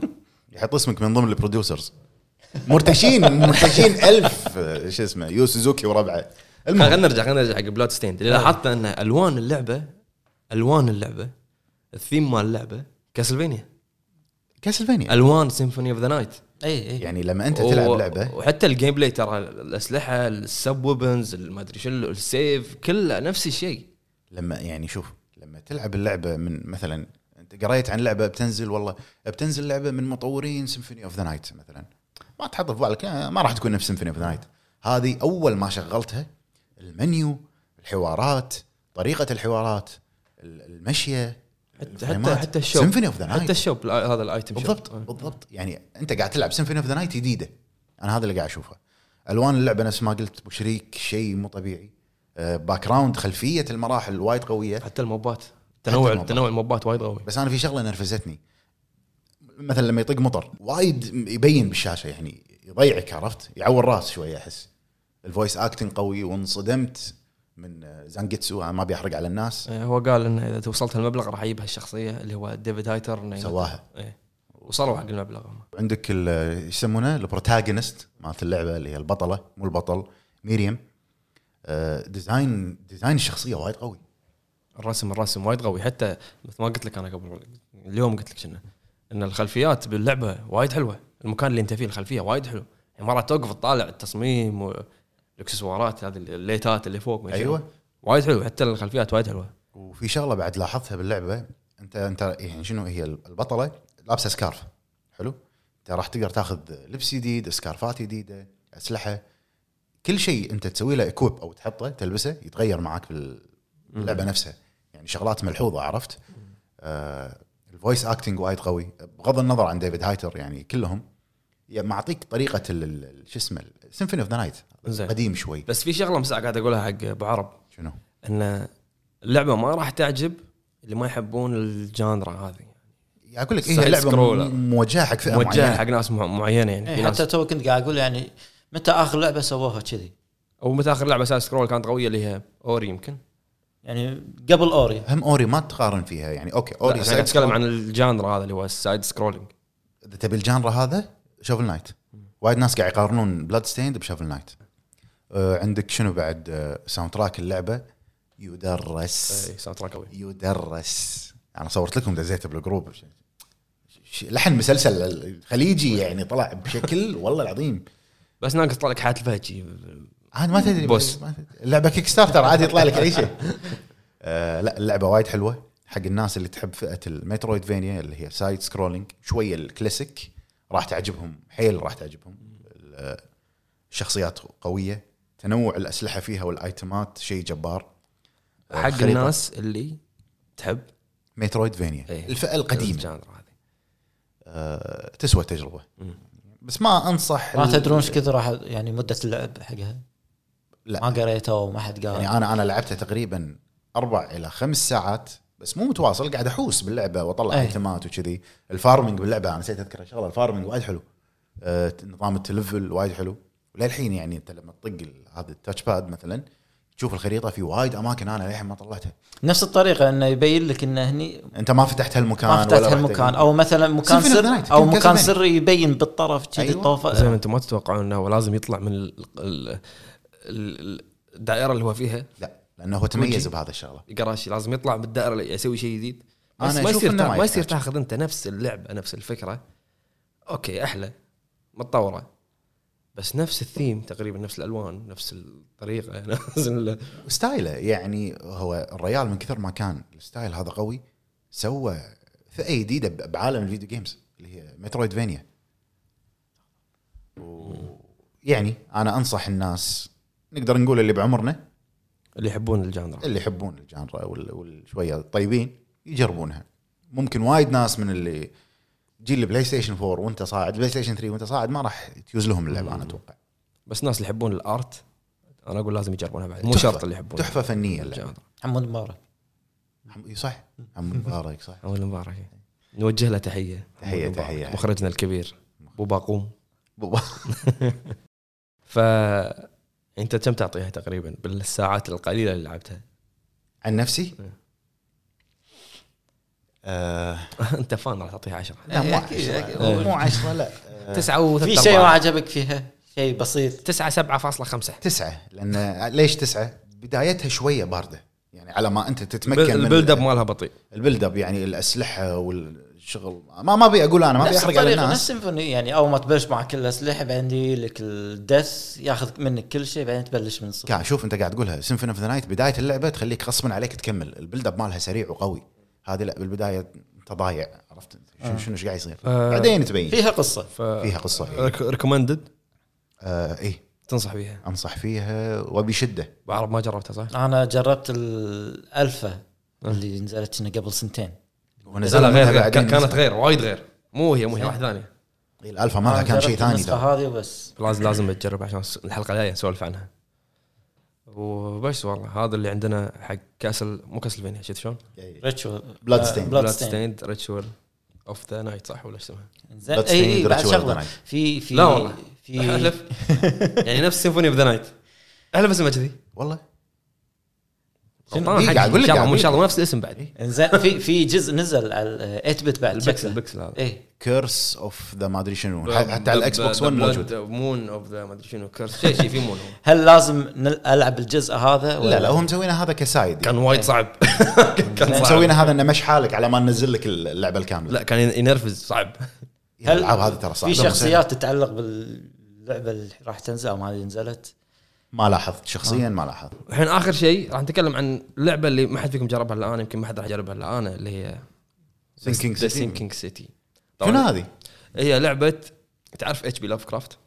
Speaker 2: يحط اسمك من ضمن البروديوسرز مرتشين مرتشين ألف آه، شو اسمه يو سوزوكي وربعه المهم
Speaker 3: خلينا نرجع خلينا نرجع حق بلاد ستيند
Speaker 2: آه.
Speaker 3: اللي لاحظت ان الوان اللعبه الوان اللعبه الثيم مال اللعبه كاسلفينيا
Speaker 2: إيه. كاسلفينيا
Speaker 3: الوان سيمفوني اوف ذا نايت
Speaker 1: اي اي
Speaker 2: يعني لما انت تلعب لعبه
Speaker 3: وحتى الجيم بلاي ترى الاسلحه السب ويبنز ما ادري شو السيف كله نفس الشيء
Speaker 2: لما يعني شوف لما تلعب اللعبه من مثلا انت قريت عن لعبه بتنزل والله بتنزل لعبه من مطورين سيمفوني اوف ذا نايت مثلا ما تحط في بالك آه، ما راح تكون نفس سيمفوني اوف ذا نايت هذه اول ما شغلتها المنيو الحوارات طريقه الحوارات ال- المشيه
Speaker 3: حتى حتى حتى الشوب
Speaker 2: سيمفوني اوف ذا نايت
Speaker 3: حتى الشوب آه. لا- هذا الايتم
Speaker 2: بالضبط
Speaker 3: شوب.
Speaker 2: بالضبط يعني انت قاعد تلعب سيمفوني اوف ذا نايت جديده انا هذا اللي قاعد اشوفه الوان اللعبه نفس ما قلت أبو شريك شيء مو طبيعي آه، باك جراوند خلفيه المراحل وايد قويه
Speaker 3: حتى الموبات تنوع
Speaker 2: الموبات.
Speaker 3: تنوع الموبات وايد قوي
Speaker 2: بس انا في شغله نرفزتني مثلا لما يطق مطر وايد م- يبين بالشاشه يعني يضيعك عرفت يعور راس شويه احس الفويس اكتنج قوي وانصدمت من آه، زانجيتسو أنا ما بيحرق على الناس
Speaker 3: إيه، هو قال انه اذا وصلت المبلغ راح اجيب هالشخصيه اللي هو ديفيد هايتر إنه
Speaker 2: سواها
Speaker 3: إيه. وصلوا حق المبلغ هم
Speaker 2: عندك ال- ايش يسمونه البروتاغونست مالت اللعبه اللي هي البطله مو البطل ميريم آه، ديزاين ديزاين الشخصيه وايد قوي
Speaker 3: الرسم الرسم وايد قوي حتى مثل ما قلت لك انا قبل اليوم قلت لك شنو ان الخلفيات باللعبه وايد حلوه المكان اللي انت فيه الخلفيه وايد حلو يعني مرات توقف تطالع التصميم والاكسسوارات هذه الليتات اللي فوق ما شنو.
Speaker 2: أيوة.
Speaker 3: وايد حلو حتى الخلفيات وايد حلوه
Speaker 2: وفي شغله بعد لاحظتها باللعبه انت انت يعني شنو هي البطله لابسه سكارف حلو انت راح تقدر تاخذ لبس جديد سكارفات جديده اسلحه كل شيء انت تسوي له اكويب او تحطه تلبسه يتغير معاك بال- باللعبه نفسها يعني شغلات ملحوظه عرفت آه الفويس اكتنج وايد قوي بغض النظر عن ديفيد هايتر يعني كلهم يعني معطيك طريقه ال- ال- ال- شو اسمه سيمفوني اوف ذا نايت
Speaker 3: زين.
Speaker 2: قديم شوي
Speaker 3: بس في شغله مساء قاعد اقولها حق ابو عرب
Speaker 2: شنو؟
Speaker 3: ان اللعبه ما راح تعجب اللي ما يحبون الجانرا هذه
Speaker 2: يعني اقول لك إيه، هي
Speaker 3: سايد
Speaker 2: لعبه
Speaker 3: سكرولر.
Speaker 2: م- موجهه حق فئه
Speaker 3: موجهه
Speaker 2: معينه
Speaker 3: حق ناس مع- معينه يعني في
Speaker 1: إيه
Speaker 3: ناس
Speaker 1: حتى تو كنت قاعد اقول يعني متى اخر لعبه سووها كذي
Speaker 3: او متى اخر لعبه سايد سكرول كانت قويه اللي هي اوري يمكن
Speaker 1: يعني قبل اوري
Speaker 2: هم اوري ما تقارن فيها يعني اوكي اوري
Speaker 3: اوري قاعد اتكلم عن الجانرا هذا اللي هو السايد سكرولينج
Speaker 2: اذا تبي الجانرا هذا شوفل نايت وايد ناس قاعد يقارنون بلاد ستيند بشوفل نايت آه عندك شنو بعد آه ساوند تراك اللعبه يدرس
Speaker 3: اي ساوند تراك إيه، قوي
Speaker 2: يدرس انا صورت لكم دزيته بالجروب ش- ش- لحن مسلسل خليجي يعني طلع بشكل والله العظيم
Speaker 3: بس ناقص يطلع لك حاله الفهجي
Speaker 2: عاد ما تدري
Speaker 3: بوس.
Speaker 2: ما تدري. اللعبه كيك ستارتر عادي يطلع لك اي شيء <laughs> آه لا اللعبه وايد حلوه حق الناس اللي تحب فئه المترويد فينيا اللي هي سايد سكرولينج شويه الكلاسيك راح تعجبهم حيل راح تعجبهم ال- الشخصيات قويه تنوع الاسلحه فيها والايتمات شيء جبار آه،
Speaker 3: حق
Speaker 2: خريطة.
Speaker 3: الناس اللي تحب
Speaker 2: مترويد فينيا
Speaker 3: إيه.
Speaker 2: الفئه القديمه
Speaker 3: الجانرا هذه
Speaker 2: آه، تسوى تجربه بس ما انصح
Speaker 1: ما
Speaker 2: ال-
Speaker 1: تدرون ايش كثر راح يعني مده اللعب حقها ما
Speaker 2: لا
Speaker 1: قريتها وما حد قال
Speaker 2: يعني انا انا لعبتها تقريبا اربع الى خمس ساعات بس مو متواصل قاعد احوس باللعبه واطلع
Speaker 1: أي.
Speaker 2: ايتمات وكذي الفارمنج باللعبه انا نسيت اذكر شغله الفارمنج وايد حلو آه، نظام التلفل وايد حلو وللحين يعني انت لما تطق ال- هذا التاتش باد مثلا تشوف الخريطه في وايد اماكن انا للحين ما طلعتها
Speaker 1: نفس الطريقه انه يبين لك انه هني
Speaker 2: انت ما فتحت هالمكان
Speaker 1: ما
Speaker 2: ولا
Speaker 1: فتحت
Speaker 2: رحت
Speaker 1: المكان
Speaker 2: أي-
Speaker 1: او مثلا مكان
Speaker 2: Symphony of the
Speaker 1: سر
Speaker 2: Night،
Speaker 1: او
Speaker 2: كان
Speaker 1: مكان
Speaker 2: Castlevania.
Speaker 1: سير يبين بالطرف كذي
Speaker 2: أيوة.
Speaker 1: طوفه
Speaker 3: زي ما انتم ما تتوقعون انه هو لازم يطلع من ال- ال- ال- الدائره اللي هو فيها
Speaker 2: لا لانه هو تميز
Speaker 3: وجهي.
Speaker 2: بهذا الشغله
Speaker 3: قراشي لازم يطلع بالدائره اللي يسوي شيء جديد بس
Speaker 2: أنا
Speaker 3: ما
Speaker 2: أشوف
Speaker 3: يصير
Speaker 2: إنه ما
Speaker 3: ما, ما يصير
Speaker 2: يحتاج.
Speaker 3: تاخذ انت نفس اللعبه نفس الفكره اوكي احلى متطوره بس نفس الثيم تقريبا نفس الالوان نفس الطريقه <laughs> نفس ال-
Speaker 2: ستايله يعني هو الريال من كثر ما كان الستايل هذا قوي سوى فئه جديده ب- بعالم الفيديو جيمز اللي هي مترويد فينيا يعني انا انصح الناس نقدر نقول اللي بعمرنا
Speaker 3: اللي يحبون الجانرا
Speaker 2: اللي يحبون الجانرا وال- والشويه الطيبين يجربونها ممكن وايد ناس من اللي جيل البلاي ستيشن 4 وانت صاعد بلاي ستيشن 3 وانت صاعد ما راح تيوز لهم اللعبه انا اتوقع
Speaker 3: بس الناس اللي يحبون الارت انا اقول لازم يجربونها بعد مو
Speaker 2: تحفة.
Speaker 3: شرط اللي يحبون
Speaker 2: تحفه فنيه اللعبه
Speaker 3: الجانرا
Speaker 1: حمود مبارك
Speaker 2: حم- صح محمد مبارك صح
Speaker 3: اول مبارك نوجه له تحيه
Speaker 2: تحية، تحية.
Speaker 3: مخرجنا الكبير ابو باقوم
Speaker 2: بو-
Speaker 3: ف انت كم تعطيها تقريبا بالساعات القليله اللي لعبتها؟ <laughs>
Speaker 2: عن نفسي
Speaker 3: إيه.
Speaker 2: آه
Speaker 3: انت فان راح تعطيها 10
Speaker 2: لا مو
Speaker 1: إيه، أكيد، أكيد.
Speaker 2: عشرة مو عشرة لا آه،
Speaker 3: تسعة و
Speaker 1: في شيء ما عجبك فيها شيء بسيط
Speaker 3: تسعة سبعة فاصلة خمسة
Speaker 2: تسعة لأن ليش تسعة بدايتها شوية باردة يعني على ما أنت تتمكن من
Speaker 3: البيلد اب مالها بطيء
Speaker 2: البيلد اب يعني الأسلحة والشغل ما ما أبي أقول أنا ما أبي
Speaker 1: نفس
Speaker 2: أحرق على
Speaker 1: الطريقه نفس
Speaker 2: الناس
Speaker 1: السيمفوني يعني اول ما تبلش معك الاسلحه بعدين يجي لك الدث ياخذ منك كل شيء بعدين تبلش من صفر
Speaker 2: قاعد شوف أنت قاعد تقولها سيمفون اوف ذا نايت بداية اللعبة تخليك غصبا عليك تكمل البيلد اب مالها سريع وقوي هذه لا بالبداية أنت ضايع عرفت شنو شنو ايش قاعد يصير
Speaker 3: آه.
Speaker 2: بعدين تبين
Speaker 1: فيها قصه
Speaker 3: ف
Speaker 2: فيها قصة
Speaker 3: ريكومندد
Speaker 2: آه إيه
Speaker 3: تنصح فيها
Speaker 2: أنصح فيها وبشدة
Speaker 3: بعرب ما جربتها صح؟
Speaker 1: انا جربت الالفا اللي نزلت هنا قبل سنتين
Speaker 3: لا
Speaker 2: ونزلها
Speaker 3: غير
Speaker 2: منها
Speaker 3: غير
Speaker 2: بعدين
Speaker 3: كان- كانت غير وايد غير مو هي مو هي واحدة ثانية
Speaker 2: الالفا مالها
Speaker 1: أنا
Speaker 3: آه،
Speaker 2: كان شيء
Speaker 1: جربت
Speaker 2: ثاني
Speaker 1: النسخه
Speaker 2: ترى.
Speaker 1: هذه وبس
Speaker 3: لازم لازم تجرب عشان س- الحلقة الجاية نسولف عنها وبس والله هذا اللي عندنا حق كاسل مو كاسلفينيا شفت شلون؟
Speaker 1: ريتشوال
Speaker 2: Blood Stained.
Speaker 1: بلاد ستين
Speaker 3: ستيند ريتشوال اوف ذا نايت صح ولا ايش اسمها؟
Speaker 1: زين
Speaker 2: Blood
Speaker 1: اي اي
Speaker 2: Stained
Speaker 1: إيه، بعد
Speaker 2: Ritual of the
Speaker 1: شغله
Speaker 2: Night.
Speaker 1: في في
Speaker 3: لا والله. <laughs>
Speaker 1: في
Speaker 3: احلف يعني نفس سيمفوني اوف ذا نايت احلف اسمها كذي
Speaker 2: والله
Speaker 3: غلطان
Speaker 2: إيه،
Speaker 3: حقي.
Speaker 2: قاعد أقول لك،
Speaker 3: ان شاء
Speaker 2: قاعد
Speaker 3: الله
Speaker 2: أقول
Speaker 3: ان شاء
Speaker 2: لك.
Speaker 3: الله مو نفس الاسم بعد
Speaker 1: زين في في جزء نزل على ال 8 بت بعد
Speaker 3: البكسل
Speaker 1: شكله.
Speaker 3: البكسل هذا
Speaker 1: ايه
Speaker 2: كيرس اوف ذا ما ادري شنو ح- حتى على الاكس بوكس 1 موجود
Speaker 3: مون اوف ذا ما ادري شنو كيرس شيء شيء في مون هو.
Speaker 1: هل لازم نل- العب الجزء هذا
Speaker 2: لا لا هم مسوينا هذا كسايد
Speaker 3: كان
Speaker 2: يعني.
Speaker 3: وايد صعب إيه. <laughs> كان
Speaker 2: هم
Speaker 3: صعب
Speaker 2: مسوينا هذا انه مش حالك على ما ننزل لك اللعبه الكامله
Speaker 3: لا كان ينرفز صعب
Speaker 2: يعني الالعاب هذه ترى صعبه
Speaker 1: في شخصيات تتعلق باللعبه اللي راح تنزل او ما اللي نزلت
Speaker 2: ما لاحظت شخصيا ما لاحظت
Speaker 3: الحين اخر شيء راح نتكلم عن اللعبه اللي ما حد فيكم جربها الا انا يمكن ما حد راح يجربها الا انا اللي هي
Speaker 2: Sinking City.
Speaker 3: سينكينج سيتي
Speaker 2: شنو هذه؟
Speaker 3: هي لعبه تعرف اتش بي لاف كرافت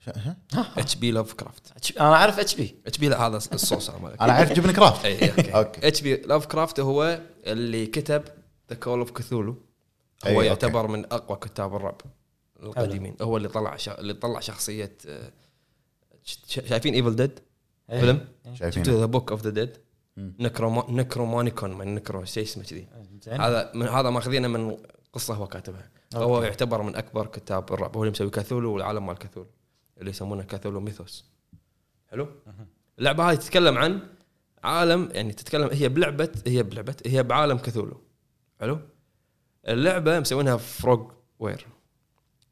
Speaker 2: ش-
Speaker 3: <laughs>
Speaker 2: ها؟
Speaker 3: اتش بي لاف كرافت
Speaker 1: انا اعرف اتش بي
Speaker 3: اتش بي هذا الصوص هذا
Speaker 2: <laughs>
Speaker 3: مالك إيه،
Speaker 2: انا عارف جبن كرافت
Speaker 3: اي اوكي
Speaker 2: اوكي.
Speaker 3: اوكي اتش بي لاف كرافت هو اللي كتب ذا كول اوف كثولو
Speaker 2: أي،
Speaker 3: هو
Speaker 2: إيه، أوكي.
Speaker 3: يعتبر من اقوى كتاب الرعب القديمين هو اللي طلع شا... اللي طلع شخصيه آه، ش- ش- شايفين ايفل ديد
Speaker 2: إيه.
Speaker 1: إيه.
Speaker 3: فيلم
Speaker 2: شايفين
Speaker 3: ذا بوك اوف ذا ديد
Speaker 2: مم.
Speaker 3: نكرومانيكون من نكرو شيء اسمه كذي
Speaker 1: زين
Speaker 3: هذا من هذا ماخذينه من قصه هو كاتبها هو يعتبر من اكبر كتاب الرعب هو اللي مسوي كاثولو والعالم مال كاثولو اللي يسمونه كاثولو ميثوس حلو اللعبه هاي تتكلم عن عالم يعني تتكلم هي بلعبه هي بلعبه هي بعالم كاثولو حلو اللعبه مسوينها فروغ وير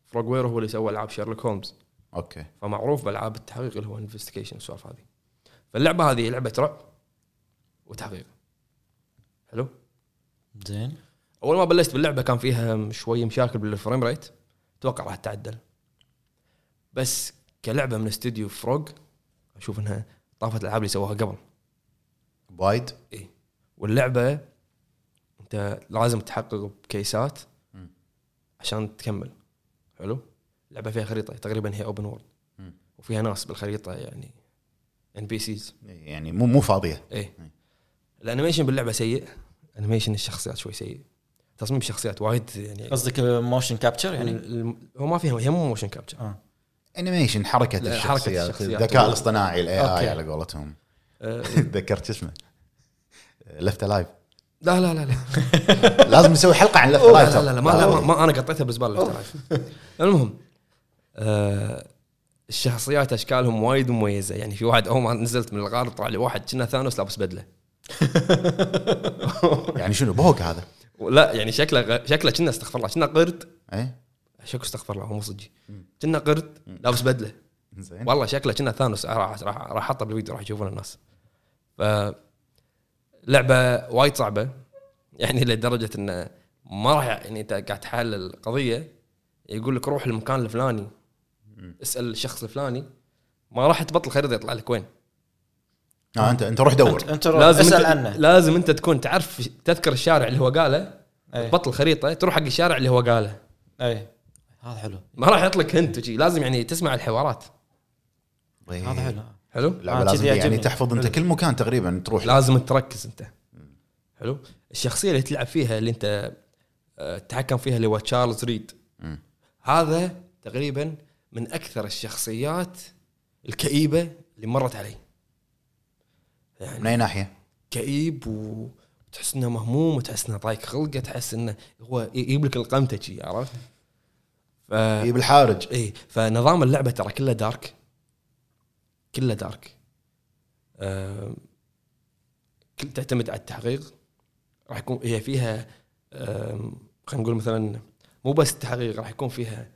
Speaker 3: فروغ وير هو اللي سوى العاب شيرلوك هولمز
Speaker 2: اوكي
Speaker 3: فمعروف بالعاب التحقيق اللي هو انفستيجيشن والسوالف هذه فاللعبه هذه لعبه رعب وتحقيق حلو
Speaker 1: زين
Speaker 3: اول ما بلشت باللعبه كان فيها شوي مشاكل بالفريم ريت اتوقع راح تتعدل بس كلعبه من استوديو فروغ اشوف انها طافت الالعاب اللي سووها قبل
Speaker 2: وايد
Speaker 3: واللعبه انت إيه. لازم تحقق بكيسات
Speaker 2: مم.
Speaker 3: عشان تكمل حلو اللعبه فيها خريطه تقريبا هي اوبن وورد
Speaker 2: مم.
Speaker 3: وفيها ناس بالخريطه يعني ان بي سيز
Speaker 2: يعني مو مو فاضيه
Speaker 3: ايه
Speaker 2: إيه.
Speaker 3: الانيميشن باللعبه سيء انيميشن الشخصيات شوي سيء تصميم الشخصيات وايد يعني
Speaker 1: قصدك موشن كابتشر
Speaker 3: يعني
Speaker 1: يعني
Speaker 3: الم- هو ما فيهم هي مو موشن كابتشر
Speaker 1: آه.
Speaker 2: انيميشن حركه
Speaker 3: لا،
Speaker 2: الشخصيات,
Speaker 3: حركة الشخصيات.
Speaker 2: الذكاء الاصطناعي الاي اي
Speaker 1: أوكي.
Speaker 2: على قولتهم <laughs>
Speaker 3: آه،
Speaker 2: تذكرت شو اسمه لفت لايف
Speaker 3: لا لا لا لا
Speaker 2: لازم نسوي حلقه عن لفت
Speaker 3: لا
Speaker 2: لايف
Speaker 3: لا, لا, لا, ما, لا ما, ما انا قطيتها بالزباله تعرف. المهم آه الشخصيات اشكالهم وايد مميزه يعني في واحد اول ما نزلت من الغار طلع لي واحد كنا ثانوس لابس بدله
Speaker 2: يعني شنو بوك هذا
Speaker 3: لا يعني شكله غ- شكله كنا استغفر الله كنا قرد
Speaker 2: اي
Speaker 3: شكو استغفر الله هو مو صجي كنا قرد لابس بدله
Speaker 2: زين
Speaker 3: والله شكله كنا ثانوس راح راح راح احطه بالفيديو راح يشوفونه الناس ف لعبه وايد صعبه يعني لدرجه انه ما راح يعني انت قاعد تحلل القضيه يقول لك روح المكان الفلاني اسال الشخص الفلاني ما راح تبطل خريطه يطلع لك وين
Speaker 2: آه انت انت روح دور
Speaker 1: انت انت روح اسال
Speaker 3: انت
Speaker 1: عنه
Speaker 3: لازم انت تكون تعرف تذكر الشارع اللي هو قاله
Speaker 1: اي
Speaker 3: تبطل خريطه تروح حق الشارع اللي هو قاله
Speaker 1: اي إيه. هذا حلو
Speaker 3: ما راح يطلق هنت وشي لازم يعني تسمع الحوارات
Speaker 1: هذا حلو
Speaker 3: حلو
Speaker 2: اللعبة
Speaker 1: آه،
Speaker 2: إيه. لازم
Speaker 1: كذي
Speaker 2: يعني
Speaker 1: يعجبني.
Speaker 2: تحفظ انت كل مكان تقريبا تروح
Speaker 3: لازم تركز انت حلو الشخصيه اللي تلعب فيها اللي انت آه، تتحكم فيها اللي هو تشارلز ريد
Speaker 2: مم.
Speaker 3: هذا تقريبا من اكثر الشخصيات الكئيبه اللي مرت علي
Speaker 2: من اي ناحيه؟
Speaker 3: كئيب وتحس انه مهموم وتحس انه ضايق خلقه تحس انه هو يجيب لك القمته شي عرفت؟ ف...
Speaker 2: هي إيه، بالحارج
Speaker 3: اي إيه، فنظام اللعبه ترى كله دارك كله دارك آم، كل تعتمد على التحقيق راح يكون هي فيها آم، خلينا نقول مثلا مو بس التحقيق راح يكون فيها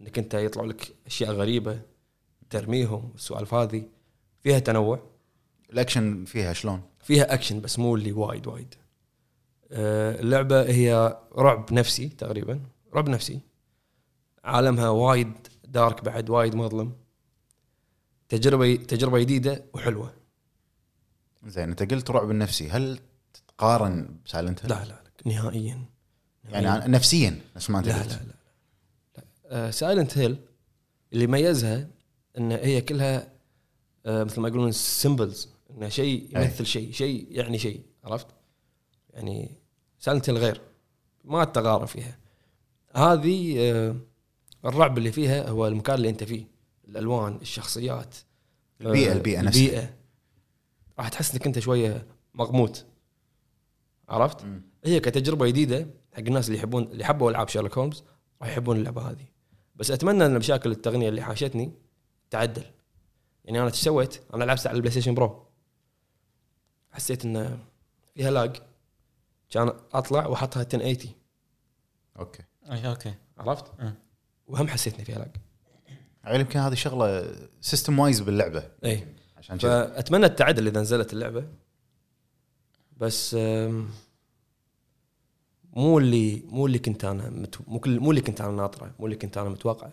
Speaker 3: انك انت يطلع لك اشياء غريبه ترميهم السوالف هذه فيها تنوع
Speaker 2: الاكشن فيها شلون؟
Speaker 3: فيها اكشن بس مو اللي وايد وايد آه، اللعبه هي رعب نفسي تقريبا رعب نفسي عالمها وايد دارك بعد وايد مظلم تجربه تجربه جديده وحلوه
Speaker 2: زين انت قلت رعب النفسي هل تقارن بسايلنت
Speaker 3: لا
Speaker 2: هيل؟
Speaker 3: لا, لا نهائيا
Speaker 2: يعني عن- نفسيا نفس ما انت
Speaker 3: لا لا
Speaker 2: قلت
Speaker 3: لا, لا. سايلنت هيل اللي ميزها ان هي كلها آه، مثل ما يقولون سيمبلز انه شيء
Speaker 2: أي.
Speaker 3: يمثل شيء شيء يعني شيء عرفت؟ يعني سايلنت هيل غير ما تغار فيها هذه آه، الرعب اللي فيها هو المكان اللي انت فيه الالوان الشخصيات
Speaker 2: البيئة-
Speaker 3: آه،
Speaker 2: البيئة نفسها.
Speaker 3: البيئه راح تحس انك انت شويه مغموت عرفت؟
Speaker 2: مم.
Speaker 3: هي كتجربه جديده حق الناس اللي يحبون اللي حبوا العاب شيرلوك هولمز راح يحبون اللعبه هذه بس اتمنى ان مشاكل التقنيه اللي حاشتني تعدل يعني انا ايش سويت؟ انا لعبت على البلاي ستيشن برو حسيت انه فيها لاج كان اطلع واحطها 1080
Speaker 2: اوكي
Speaker 1: اي اوكي
Speaker 3: عرفت؟
Speaker 1: أه.
Speaker 3: وهم حسيت ان فيها لاج
Speaker 2: على يعني يمكن هذه شغله سيستم وايز باللعبه
Speaker 3: اي
Speaker 2: عشان كذا
Speaker 3: فاتمنى التعدل اذا نزلت اللعبه بس أم، مو اللي مو اللي كنت انا مت- مو كل- مو اللي كنت انا ناطره مو اللي كنت انا متوقعه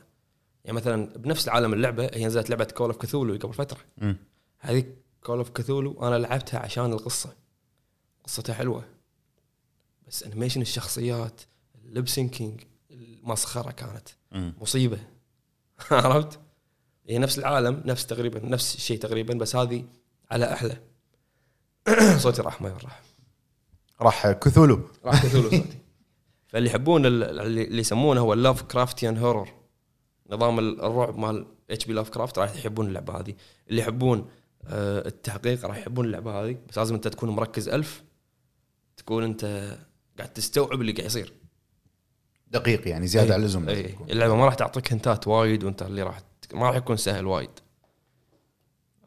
Speaker 3: يعني مثلا بنفس عالم اللعبه هي نزلت لعبه كول اوف كثولو قبل فتره
Speaker 2: مم.
Speaker 3: هذه كول اوف كثولو انا لعبتها عشان القصه قصتها حلوه بس انيميشن الشخصيات اللب سينكينج المسخره كانت
Speaker 2: مم.
Speaker 3: مصيبه <laughs> عرفت؟ هي نفس العالم نفس تقريبا نفس الشيء تقريبا بس هذه على احلى <coughs> صوتي راح ما راح
Speaker 2: راح كثولو
Speaker 3: <laughs> راح كثولو صوتي فاللي يحبون ال- اللي يسمونه هو اللاف كرافتيان هورر نظام ال- الرعب مال اتش بي لاف كرافت راح يحبون اللعبه هذه اللي يحبون آه، التحقيق راح يحبون اللعبه هذه بس لازم انت تكون مركز ألف تكون انت قاعد تستوعب اللي قاعد يصير
Speaker 2: دقيق يعني زياده
Speaker 3: أي.
Speaker 2: على اللزوم لازم
Speaker 3: اي
Speaker 2: تكون.
Speaker 3: اللعبه إيه. ما راح تعطيك هنتات وايد وانت اللي راح ما راح يكون سهل وايد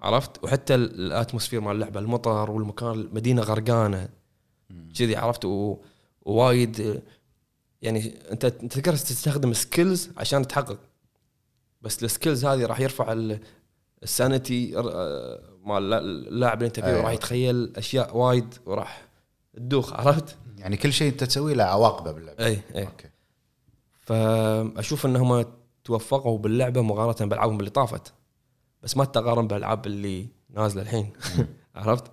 Speaker 3: عرفت وحتى ال- الاتموسفير مال اللعبه المطر والمكان المدينه غرقانه
Speaker 2: مم.
Speaker 3: كذي عرفت و- ووايد آه، يعني انت أنت تقدر تستخدم سكيلز عشان تحقق بس السكيلز هذه راح يرفع السانيتي مال اللاعب اللي انت فيه
Speaker 2: أيوة.
Speaker 3: وراح يتخيل اشياء وايد وراح تدوخ عرفت؟ إيه،
Speaker 2: يعني كل شيء انت تسويه له عواقبه باللعبه
Speaker 3: اي اي
Speaker 2: اوكي
Speaker 3: فاشوف انهم توفقوا باللعبه مقارنه بالالعابهم اللي طافت بس ما تقارن بالالعاب اللي نازله الحين عرفت؟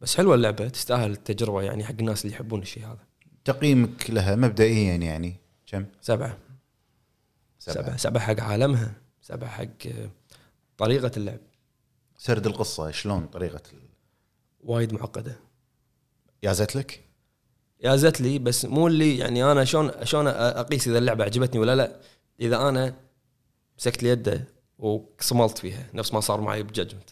Speaker 3: بس حلوه اللعبه تستاهل التجربه يعني حق الناس اللي يحبون الشيء هذا
Speaker 2: تقييمك لها مبدئيا يعني كم؟
Speaker 3: سبعه سبعه
Speaker 2: سبعه
Speaker 3: سبعه حق عالمها سبعه حق آه، طريقه اللعب
Speaker 2: سرد القصه شلون طريقه ال-
Speaker 3: وايد معقده
Speaker 2: يازت لك؟
Speaker 3: يازت لي بس مو اللي يعني انا شلون شلون اقيس اذا اللعبه عجبتني ولا لا اذا انا مسكت لي يده وصملت فيها نفس ما صار معي بججمنت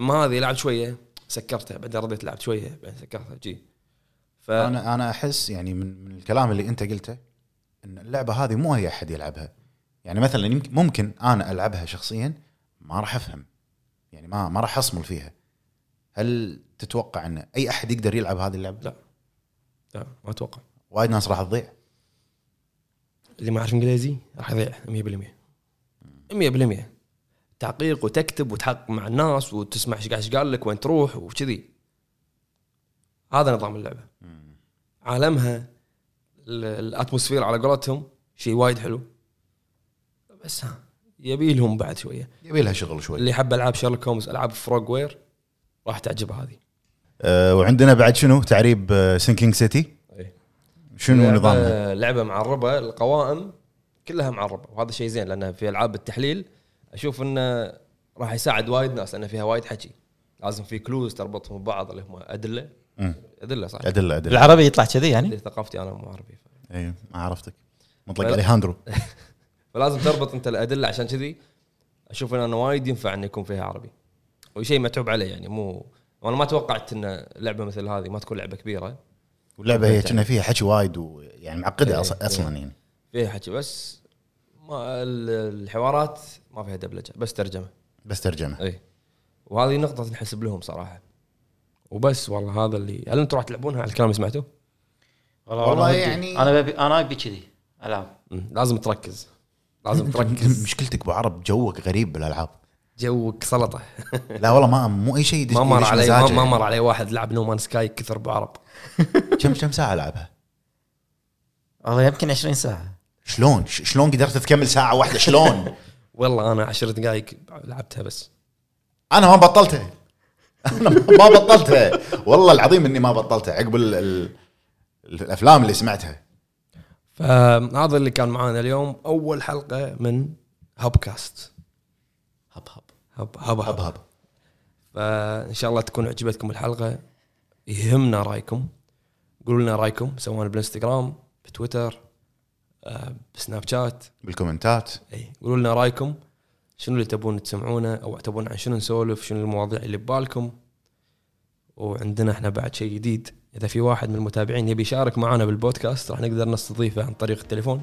Speaker 3: اما هذه لعبت شويه سكرتها بعدين رديت لعبت شويه بعدين سكرتها جي ف
Speaker 2: انا انا احس يعني من, من الكلام اللي انت قلته ان اللعبه هذه مو اي احد يلعبها يعني مثلا يمكن ممكن انا العبها شخصيا ما راح افهم يعني ما ما راح اصمل فيها هل تتوقع ان اي احد يقدر يلعب هذه اللعبه؟
Speaker 3: لا. لا آه، ما اتوقع
Speaker 2: وايد ناس راح تضيع
Speaker 3: اللي ما يعرف انجليزي راح يضيع 100% 100% تعقيق وتكتب وتحقق مع الناس وتسمع ايش قاعد إيش قال لك وين تروح وكذي هذا نظام اللعبه عالمها ال- الاتموسفير على قولتهم شيء وايد حلو بس ها يبي لهم بعد شويه
Speaker 2: يبي لها شغل شوي
Speaker 3: اللي حب العاب شارلوك هومز العاب فروغ وير راح تعجبه هذه
Speaker 2: أه وعندنا بعد شنو تعريب سينكينج سيتي
Speaker 3: إيه.
Speaker 2: شنو
Speaker 3: لعبة-
Speaker 2: نظامها؟
Speaker 3: لعبه معربه القوائم كلها معربه وهذا شيء زين لان في العاب التحليل اشوف انه راح يساعد وايد ناس لان فيها وايد حكي لازم في كلوز تربطهم ببعض اللي هم ادله
Speaker 2: مم.
Speaker 3: ادله صح
Speaker 2: ادله ادله
Speaker 1: بالعربي يطلع كذي يعني
Speaker 3: أدلة ثقافتي انا مو عربي ف-
Speaker 2: اي إيه، ما عرفتك مطلق
Speaker 3: لا. <laughs>
Speaker 2: اليهاندرو
Speaker 3: فلازم تربط انت الادله عشان كذي اشوف انه وايد ينفع انه يكون فيها عربي وشيء متعوب عليه يعني مو وانا ما توقعت ان لعبه مثل هذه ما تكون لعبه كبيره
Speaker 2: واللعبه هي كنا فيها حكي وايد ويعني معقده
Speaker 3: إيه،
Speaker 2: أص- اصلا يعني
Speaker 3: فيها حكي بس ما ال- الحوارات ما فيها دبلجه بس ترجمه
Speaker 2: بس ترجمه
Speaker 3: اي إيه. وهذه نقطه تنحسب لهم صراحه وبس والله هذا اللي هل انتم راح تلعبونها على الكلام اللي سمعته؟
Speaker 2: والله
Speaker 1: أنا ودي-
Speaker 2: يعني-
Speaker 1: انا ببي انا ابي كذي العاب
Speaker 3: مم، لازم تركز <laughs> لازم
Speaker 2: أنت
Speaker 3: تركز
Speaker 2: مشكلتك ابو عرب جوك غريب بالالعاب
Speaker 3: جوك <laughs> سلطه
Speaker 2: لا والله ما مو اي شيء يدش-
Speaker 3: ما مر
Speaker 2: يدش
Speaker 3: علي ما
Speaker 2: مزاجه.
Speaker 3: ما مر علي واحد لعب نومان سكاي كثر بعرب
Speaker 2: كم كم ساعه العبها؟
Speaker 1: والله يمكن 20 ساعه
Speaker 2: شلون ش- شلون قدرت تكمل ساعه واحده شلون؟
Speaker 3: والله انا عشر دقائق لعبتها بس
Speaker 2: انا ما بطلتها <laughs> انا ما بطلتها والله العظيم اني ما بطلتها عقب ال- ال- الافلام اللي سمعتها
Speaker 3: فهذا اللي كان معانا اليوم اول حلقه من هاب كاست
Speaker 1: هب هب
Speaker 3: هب هب
Speaker 2: هب
Speaker 3: هب
Speaker 2: هب
Speaker 3: فان شاء الله تكون عجبتكم الحلقه يهمنا رايكم قولوا لنا رايكم سواء بالانستغرام بتويتر آه، بسناب شات
Speaker 2: بالكومنتات
Speaker 3: اي قولوا لنا رايكم شنو اللي تبون تسمعونه او تبون عن شنو نسولف شنو المواضيع اللي ببالكم وعندنا احنا بعد شيء جديد اذا في واحد من المتابعين يبي يشارك معنا بالبودكاست راح نقدر نستضيفه عن طريق التليفون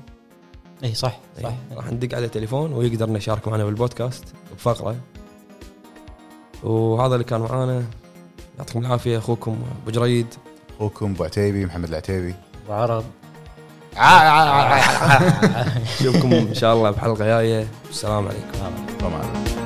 Speaker 1: اي صح
Speaker 3: إي،
Speaker 1: صح
Speaker 3: إيه. راح ندق على تليفون ويقدر إنه يشارك معنا بالبودكاست بفقره وهذا اللي كان معانا يعطيكم العافيه اخوكم ابو جريد
Speaker 2: اخوكم ابو عتيبي محمد العتيبي
Speaker 1: وعرب
Speaker 3: نشوفكم ان شاء الله بحلقه جايه والسلام عليكم
Speaker 2: طبعا